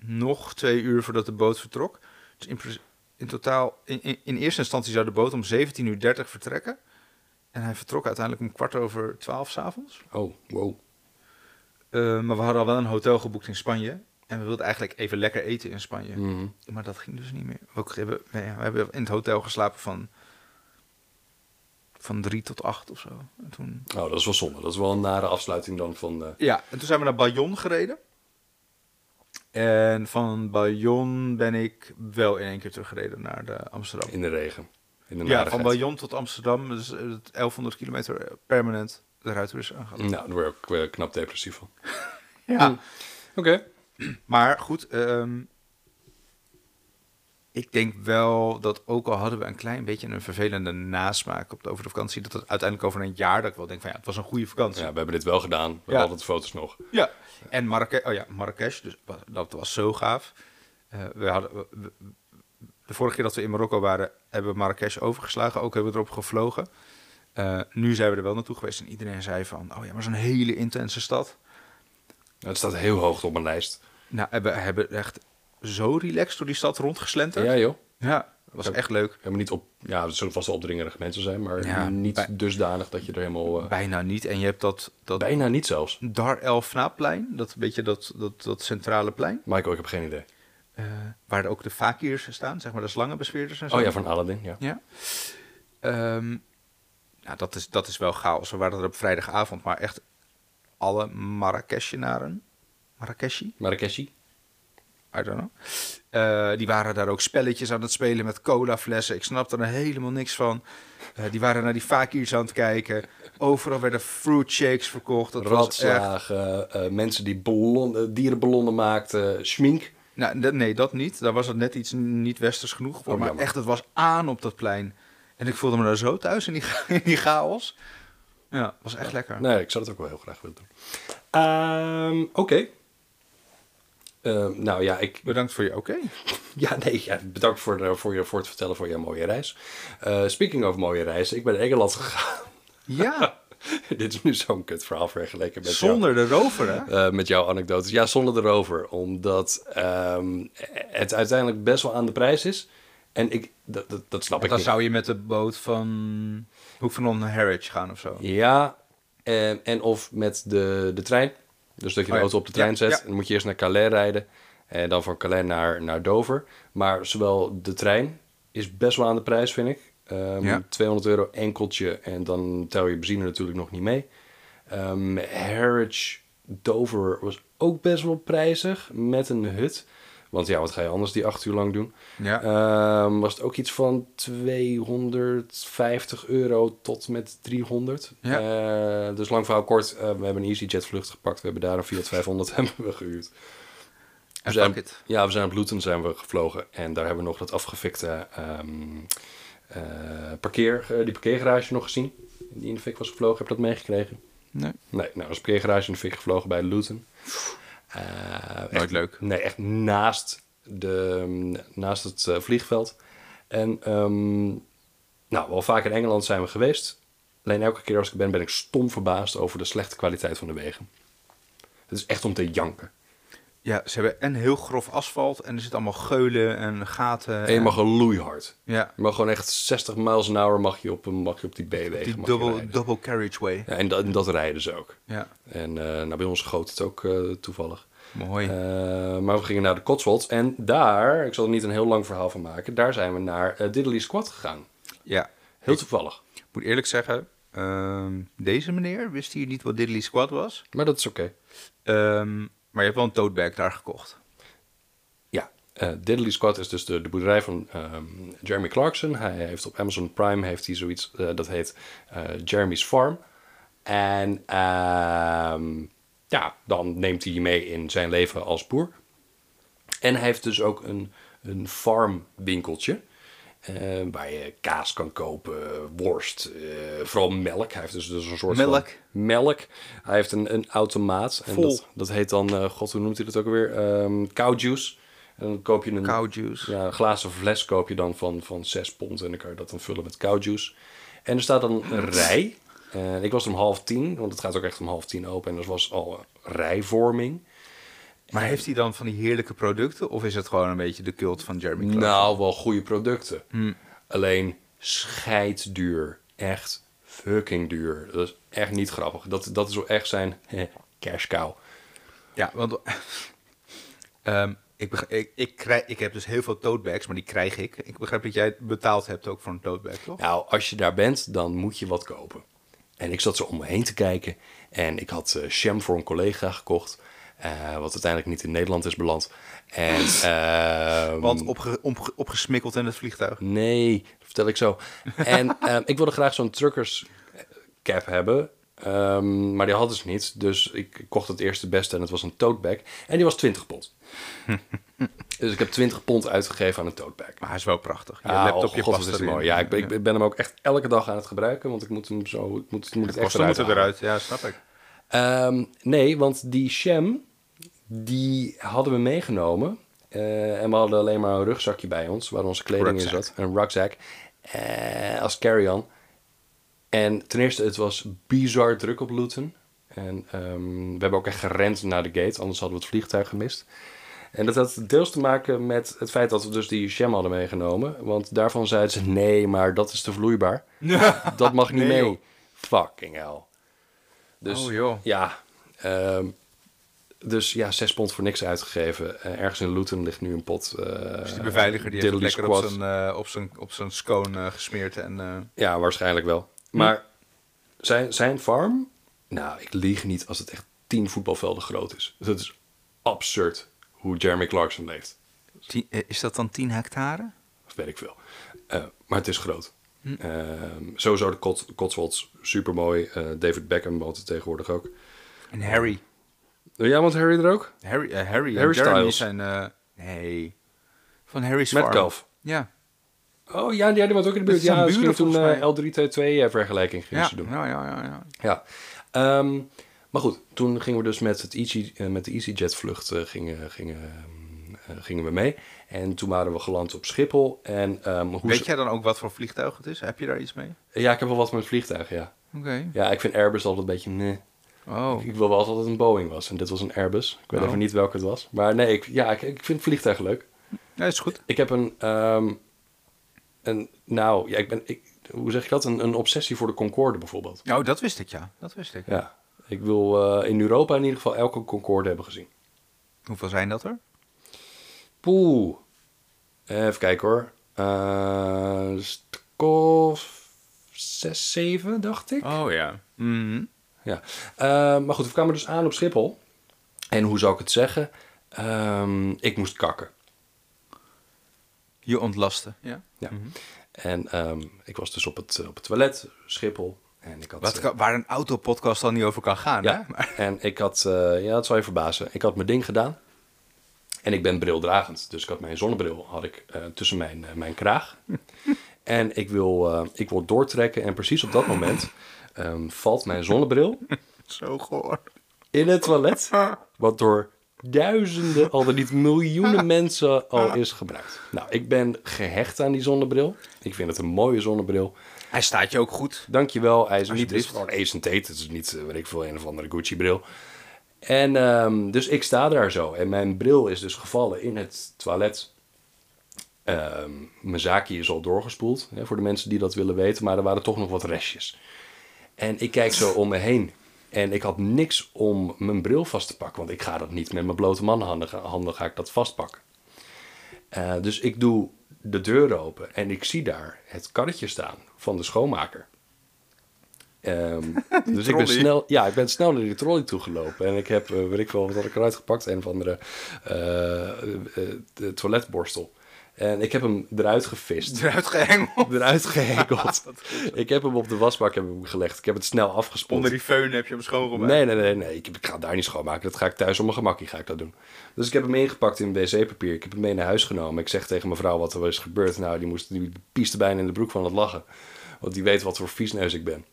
nog twee uur voordat de boot vertrok. Dus in, pre- in totaal, in, in, in eerste instantie zou de boot om 17.30 uur vertrekken. En hij vertrok uiteindelijk om kwart over twaalf s'avonds. Oh, wow. Eh, maar we hadden al wel een hotel geboekt in Spanje. En we wilden eigenlijk even lekker eten in Spanje. Mhm. Maar dat ging dus niet meer. We ook hebben, we ja, we hebben in het hotel geslapen van, van drie tot acht of zo. En toen, Oh, dat is wel zonde. Dat is wel een nare afsluiting dan van... eh, ja, en toen zijn we naar Bayon gereden. En van Bayon ben ik wel in één keer teruggereden naar de Amsterdam. in de regen. In de Ja, van narigheid. Bayon tot Amsterdam. Dus eh, 1100 kilometer permanent de ruiter is aangehaald. Nou, daar word ik ook eh, knap depressief van. Ja. Oké. Maar goed, ehm, ik denk wel dat ook al hadden we een klein beetje een vervelende nasmaak op de, over de vakantie, dat het uiteindelijk over een jaar dat ik wel denk van ja, het was een goede vakantie. Ja, Ja. we hebben dit wel gedaan. We hebben altijd foto's nog. En Marrakesh, oh ja, Marrakesh, dus wa- dat was zo gaaf. Eh, we hadden, we- we- de vorige keer dat we in Marokko waren, hebben we Marrakesh overgeslagen. Ook hebben we erop gevlogen. Eh, nu zijn we er wel naartoe geweest en iedereen zei van, oh ja, maar zo'n hele intense stad. Nou, het staat heel hoog op mijn lijst. Nou, we hebben echt zo relaxed door die stad rondgeslenterd. Ja, joh. Ja, dat was echt leuk. Helemaal niet op... Ja, er zullen vast wel opdringerige mensen zijn, maar Ja, niet bij- dusdanig dat je er helemaal... eh, Bijna niet. En je hebt dat, dat bijna niet zelfs. Dar el Fnaapplein, dat beetje dat, dat, dat centrale plein, Michael, ik heb geen idee. eh, waar ook de fakirs staan, zeg maar de slangenbespeerders en zo. Oh ja, van Aladdin, ja. Ja. Ehm, nou, dat is, dat is wel chaos. We waren er op vrijdagavond, maar echt alle Marrakeshenaren, Marrakeshi, Marrakeshi. I don't know, eh, die waren daar ook spelletjes aan het spelen met colaflessen. Ik snapte er helemaal niks van. Eh, die waren naar die fakirs aan het kijken. Overal werden fruit shakes verkocht. Dat was echt... eh, Radslagen, eh, mensen die ballonnen, dierenballonnen eh, maakten, schmink. Nou, dat- nee, dat niet. Daar was het net iets niet westers genoeg voor. Oh, maar jammer. echt, het was aan op dat plein. En ik voelde me daar zo thuis in die, in die chaos. Ja, was echt lekker. Nee, ik zou dat ook wel heel graag willen doen. Ehm, Oké. Ehm, nou ja, ik, Bedankt voor je oké. Ja, nee, ja, bedankt voor, de- voor, je, voor het vertellen van je mooie reis. Eh, speaking of mooie reizen, ik ben naar Engeland gegaan. Ja, Dit is nu zo'n kut verhaal vergeleken met jou. zonder de rover, hè? Eh, met jouw anekdotes. Ja, zonder erover. Omdat ehm, het uiteindelijk best wel aan de prijs is. En ik, dat, dat, dat snap ik Dan niet. zou je met de boot van Hoek van On naar Harwich gaan of zo. Ja, en, en of met de, de trein. Dus dat je de Oh ja. auto op de trein Ja, zet. ja. Dan moet je eerst naar Calais rijden. En dan van Calais naar, naar Dover. Maar zowel de trein is best wel aan de prijs, vind ik. Ehm, Ja. 200 euro enkeltje. En dan tel je benzine natuurlijk nog niet mee. Ehm Harwich Dover was ook best wel prijzig. Met een hut. Want ja, wat ga je anders die acht uur lang doen? Ja. Ehm, was het ook iets van 250 euro tot met 300. Ja. Eh, dus lang verhaal kort, eh, we hebben een EasyJet vlucht gepakt. We hebben daar een Fiat 500 hebben we gehuurd. En We zijn- fuck it. Ja, we zijn op Luton zijn we gevlogen. En daar hebben we nog dat afgefikte ehm, eh, parkeer, eh, die parkeergarage nog gezien. Die in de fik was gevlogen. Heb je dat meegekregen? Nee. Nee, nou, was een parkeergarage in de fik gevlogen bij Luton. Eh, echt- leuk. Nee, echt naast, de, naast het eh, vliegveld. En ehm, nou, wel vaak in Engeland zijn we geweest. Alleen elke keer als ik er ben, ben ik stom verbaasd over de slechte kwaliteit van de wegen. Het is echt om te janken. Ja, ze hebben en heel grof asfalt en er zit allemaal geulen en gaten. En je en- mag gewoon loeihard. Ja, Je mag gewoon echt 60 miles an hour mag je op, een- mag je op die B-wegen. die mag je double, rijden. double carriageway. Ja, en, dat, en dat rijden ze ook. Ja, En eh, nou, bij ons goot het ook eh, toevallig. mooi. Eh, maar we gingen naar de Cotswolds. En daar, ik zal er niet een heel lang verhaal van maken, daar zijn we naar eh, Diddley Squad gegaan. ja, Heel toevallig. ik moet eerlijk zeggen, ehm, deze meneer wist hier niet wat Diddley Squad was. Maar dat is oké. Ehm, maar je hebt wel een tote bag daar gekocht. Ja, eh Diddley Squad is dus de, de boerderij van ehm, Jeremy Clarkson. Hij heeft op Amazon Prime heeft hij zoiets, eh, dat heet eh, Jeremy's Farm. En ehm, ja, dan neemt hij je mee in zijn leven als boer. En hij heeft dus ook een, een farmwinkeltje. eh, waar je kaas kan kopen, worst, eh, vooral melk. Hij heeft dus, dus een soort Melk? van melk. Hij heeft een, een automaat. En Vol. dat, dat heet dan, eh, god, hoe noemt hij dat ook alweer? Ehm cow juice. En dan koop je een, Cow juice. ja, een glazen fles koop je dan van, van 6 pond. En dan kan je dat dan vullen met cow juice. En er staat dan een rij. En ik was om half tien, want het gaat ook echt om half tien open. En er was al eh, rijvorming. Maar heeft hij dan van die heerlijke producten? Of is het gewoon een beetje de cult van Jeremy Clarkson? Nou, wel goede producten. Hm. Alleen scheidduur. Echt fucking duur. Dat is echt niet grappig. Dat, dat is wel echt zijn cash cow. Ja, want ehm, ik, beg- ik, ik, krijg, ik heb dus heel veel tote bags, maar die krijg ik. Ik begrijp dat jij betaald hebt ook voor een tote bag, toch? Nou, als je daar bent, dan moet je wat kopen. En ik zat zo om me heen te kijken. En ik had eh Sham voor een collega gekocht. eh, wat uiteindelijk niet in Nederland is beland. En, ehm, Want opge, opge- opgesmikkeld in het vliegtuig. Nee, dat vertel ik zo. En ehm, ik wilde graag zo'n truckers eh, cap hebben. ehm, maar die hadden ze niet. Dus ik kocht het eerste beste en het was een tote bag. En die was 20 pond. dus ik heb 20 pond uitgegeven aan een tote bag. Maar hij is wel prachtig. Je Ja, laptopje oh, god, past wat is het erin. mooi. Ja, ik ben, ik ben- ben hem ook echt elke dag aan het gebruiken, want ik moet hem zo, ik moet, ik moet het Kosten echt moeten halen. eruit, ja, snap ik. Ehm, nee, want die sham, die hadden we meegenomen. Eh, en we hadden alleen maar een rugzakje bij ons, waar onze kleding in Rugzak. zat. Een rugzak. eh, als carry-on. En ten eerste, het was bizar druk op Luton. En ehm, we hebben ook echt gerend naar de gate, anders hadden we het vliegtuig gemist. En dat had deels te maken met het feit dat we dus die sham hadden meegenomen. Want daarvan zeiden ze, nee, maar dat is te vloeibaar. dat mag niet Nee, mee. joh. Fucking hell. Dus, Oh, joh. Ja. ehm, dus ja, zes pond voor niks uitgegeven. Eh, ergens in Luton ligt nu een pot. eh, Dus die beveiliger die heeft Diddley het lekker op Squad. zijn, eh, op, zijn, op zijn scone eh, gesmeerd. En, eh, Ja, waarschijnlijk wel. Maar Hm. zijn, zijn farm... Nou, ik lieg niet als het echt tien voetbalvelden groot is. Dat is absurd hoe Jeremy Clarkson leeft. tien- eh, is dat dan 10 hectare? Of weet ik veel. Eh, maar het is groot. Hm. Ehm, sowieso de Cot Cotswolds, supermooi. Eh, David Beckham woont er tegenwoordig ook. En Harry. Wil jij want Harry er ook? Harry, eh, Harry en Harry Jeremy Styles. zijn... eh, Nee. Van Harry's Farm. Metcalf. Ja. Oh ja, die die was ook in de Dat buurt. zijn Ja, buren misschien toen volgens mij. eh, L3T2 eh, vergelijking gingen Ja. ze doen. Ja, ja, ja, ja. Ja. Ehm, maar goed, toen gingen we dus met, het EG, eh, met de EasyJet-vlucht eh, gingen, gingen, ehm, eh, gingen we mee. En toen waren we geland op Schiphol. En, ehm, hoe Weet ze- jij dan ook wat voor vliegtuig het is? Heb je daar iets mee? Ja, ik heb wel wat met vliegtuigen, ja. Oké. Ja, ik vind Airbus altijd een beetje... meh. Oh. Ik wil wel altijd een Boeing was. En dit was een Airbus. Ik weet Oh. even niet welke het was. Maar nee, ik, ja, ik, ik vind vliegtuigen leuk. Ja, is goed. Ik heb een... ehm, een nou, ja, ik ben... Ik, hoe zeg je dat? Een, een obsessie voor de Concorde bijvoorbeeld. Nou, dat wist ik, ja. Dat wist ik. Ja. Ik wil eh, in Europa in ieder geval elke Concorde hebben gezien. Hoeveel zijn dat er? Poeh. Even kijken hoor. Eh stuk of zes, zeven, dacht ik. Oh ja. Ja. Eh, maar goed, we kwamen dus aan op Schiphol. En hoe zou ik het zeggen? Ehm, ik moest kakken. Je ontlasten. Ja. Ja. En ehm, ik was dus op het, eh, op het toilet, Schiphol. En ik had, Wat, eh, kan- waar een autopodcast dan niet over kan gaan. ja, Hè? Maar- en ik had, eh, ja, dat zal je verbazen. Ik had mijn ding gedaan. En ik ben brildragend. Dus ik had mijn zonnebril had ik, eh, tussen mijn, eh, mijn kraag. en ik wil, eh, ik wil doortrekken. En precies op dat moment ehm, valt mijn zonnebril Zo goor. in het toilet. Wat door duizenden, al dan niet miljoenen mensen al is gebruikt. Nou, ik ben gehecht aan die zonnebril. Ik vind het een mooie zonnebril. Hij staat je ook goed. Dankjewel, hij is niet het is Alsjeblieft. gewoon Ace Tate. Het is niet, eh, weet ik veel, een of andere Gucci-bril. En ehm, dus ik sta daar zo. En mijn bril is dus gevallen in het toilet. Ehm, mijn zaakje is al doorgespoeld, hè, voor de mensen die dat willen weten. Maar er waren toch nog wat restjes. En ik kijk zo om me heen. En ik had niks om mijn bril vast te pakken. Want ik ga dat niet met mijn blote manhanden ga- handen ga ik dat vastpakken. Eh, dus ik doe de deur open en ik zie daar het karretje staan van de schoonmaker. Ehm, dus ik ben, trolley. snel, ja, ik ben snel naar die trolley toe gelopen. En ik heb, eh, weet ik wel, wat had ik eruit gepakt? Een of andere eh, eh, eh, toiletborstel. En ik heb hem eruit gevist Eruit gehengeld. eruit gehengeld. ik heb hem op de wasbak heb ik hem gelegd. Ik heb het snel afgespoeld. Onder die feun heb je hem schoongemaakt. Nee, nee, nee, nee. Ik, ik ga het daar niet schoonmaken. Dat ga ik thuis op mijn gemakkie ga ik dat doen. Dus ik heb hem ingepakt in wc-papier. Ik heb hem mee naar huis genomen. Ik zeg tegen mijn vrouw wat er is gebeurd. Nou, die, moest, die pieste bijna in de broek van het lachen. Want die weet wat voor viesneus ik ben.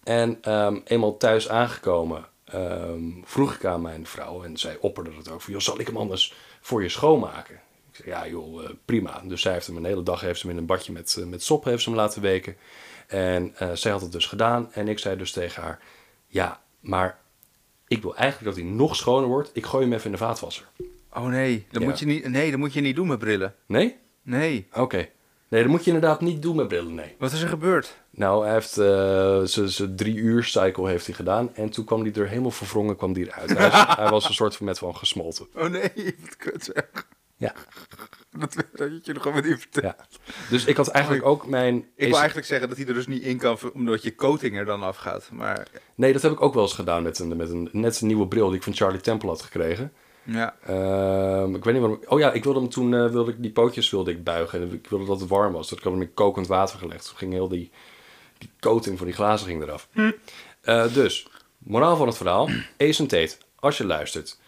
En ehm, eenmaal thuis aangekomen ehm, vroeg ik aan mijn vrouw. En zij opperde het ook. Van, joh, zal ik hem anders voor je schoonmaken? Ik zeg, ja joh, eh, prima. Dus zij heeft hem een hele dag heeft ze hem in een badje met, eh, met sop heeft ze hem laten weken. En eh, zij had het dus gedaan. En ik zei dus tegen haar, ja, maar ik wil eigenlijk dat hij nog schoner wordt. Ik gooi hem even in de vaatwasser. Oh nee. Dat, Ja. moet je niet, nee, dat moet je niet doen met brillen. Nee? Nee. Oké. Nee, dat moet je inderdaad niet doen met brillen, nee. Wat is er gebeurd? Nou, hij heeft eh, zijn zijn drie uur cycle heeft hij gedaan. En toen kwam hij er helemaal verwrongen kwam die eruit. Hij, is- hij was een soort van met van gesmolten. Oh nee, wat kut zeg. Ja, Dat weet je nog gewoon even vertellen. ja. Dus ik had eigenlijk ook mijn... Ik wil eigenlijk zeggen dat hij er dus niet in kan, omdat je coating er dan afgaat. Maar Nee, dat heb ik ook wel eens gedaan met een, met een net een nieuwe bril die ik van Charlie Temple had gekregen. ja. Ehm, ik weet niet waarom. Oh ja, ik wilde hem toen eh, wilde ik die pootjes wilde ik buigen. En ik wilde dat het warm was. Dat kwam hem in kokend water gelegd. Toen ging heel die, die coating van die glazen ging eraf. Eh, dus, moraal van het verhaal. Ace Tate, als je luistert.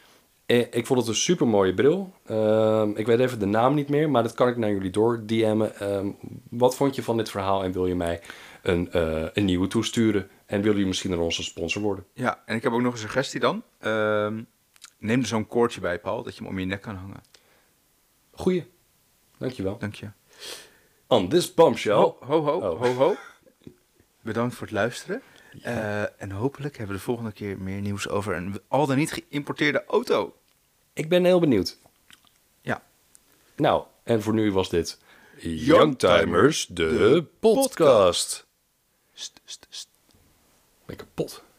Eh, ik vond het een super mooie bril. Ehm, ik weet even de naam niet meer, maar dat kan ik naar jullie door DM'en. Ehm, wat vond je van dit verhaal en wil je mij een, eh, een nieuwe toesturen? En wil je misschien naar onze sponsor worden? ja, en ik heb ook nog een suggestie dan. Ehm, neem er zo'n koordje bij, Paul, dat je hem om je nek kan hangen. Goeie. Dankjewel. Dank je. On this bombshell. Ho, ho, ho, Oh. ho, ho. Bedankt voor het luisteren. Eh, en hopelijk hebben we de volgende keer meer nieuws over een al dan niet geïmporteerde auto. Ik ben heel benieuwd. Ja. Nou, en voor nu was dit Youngtimers, de podcast. St, st, st. Ben ik kapot.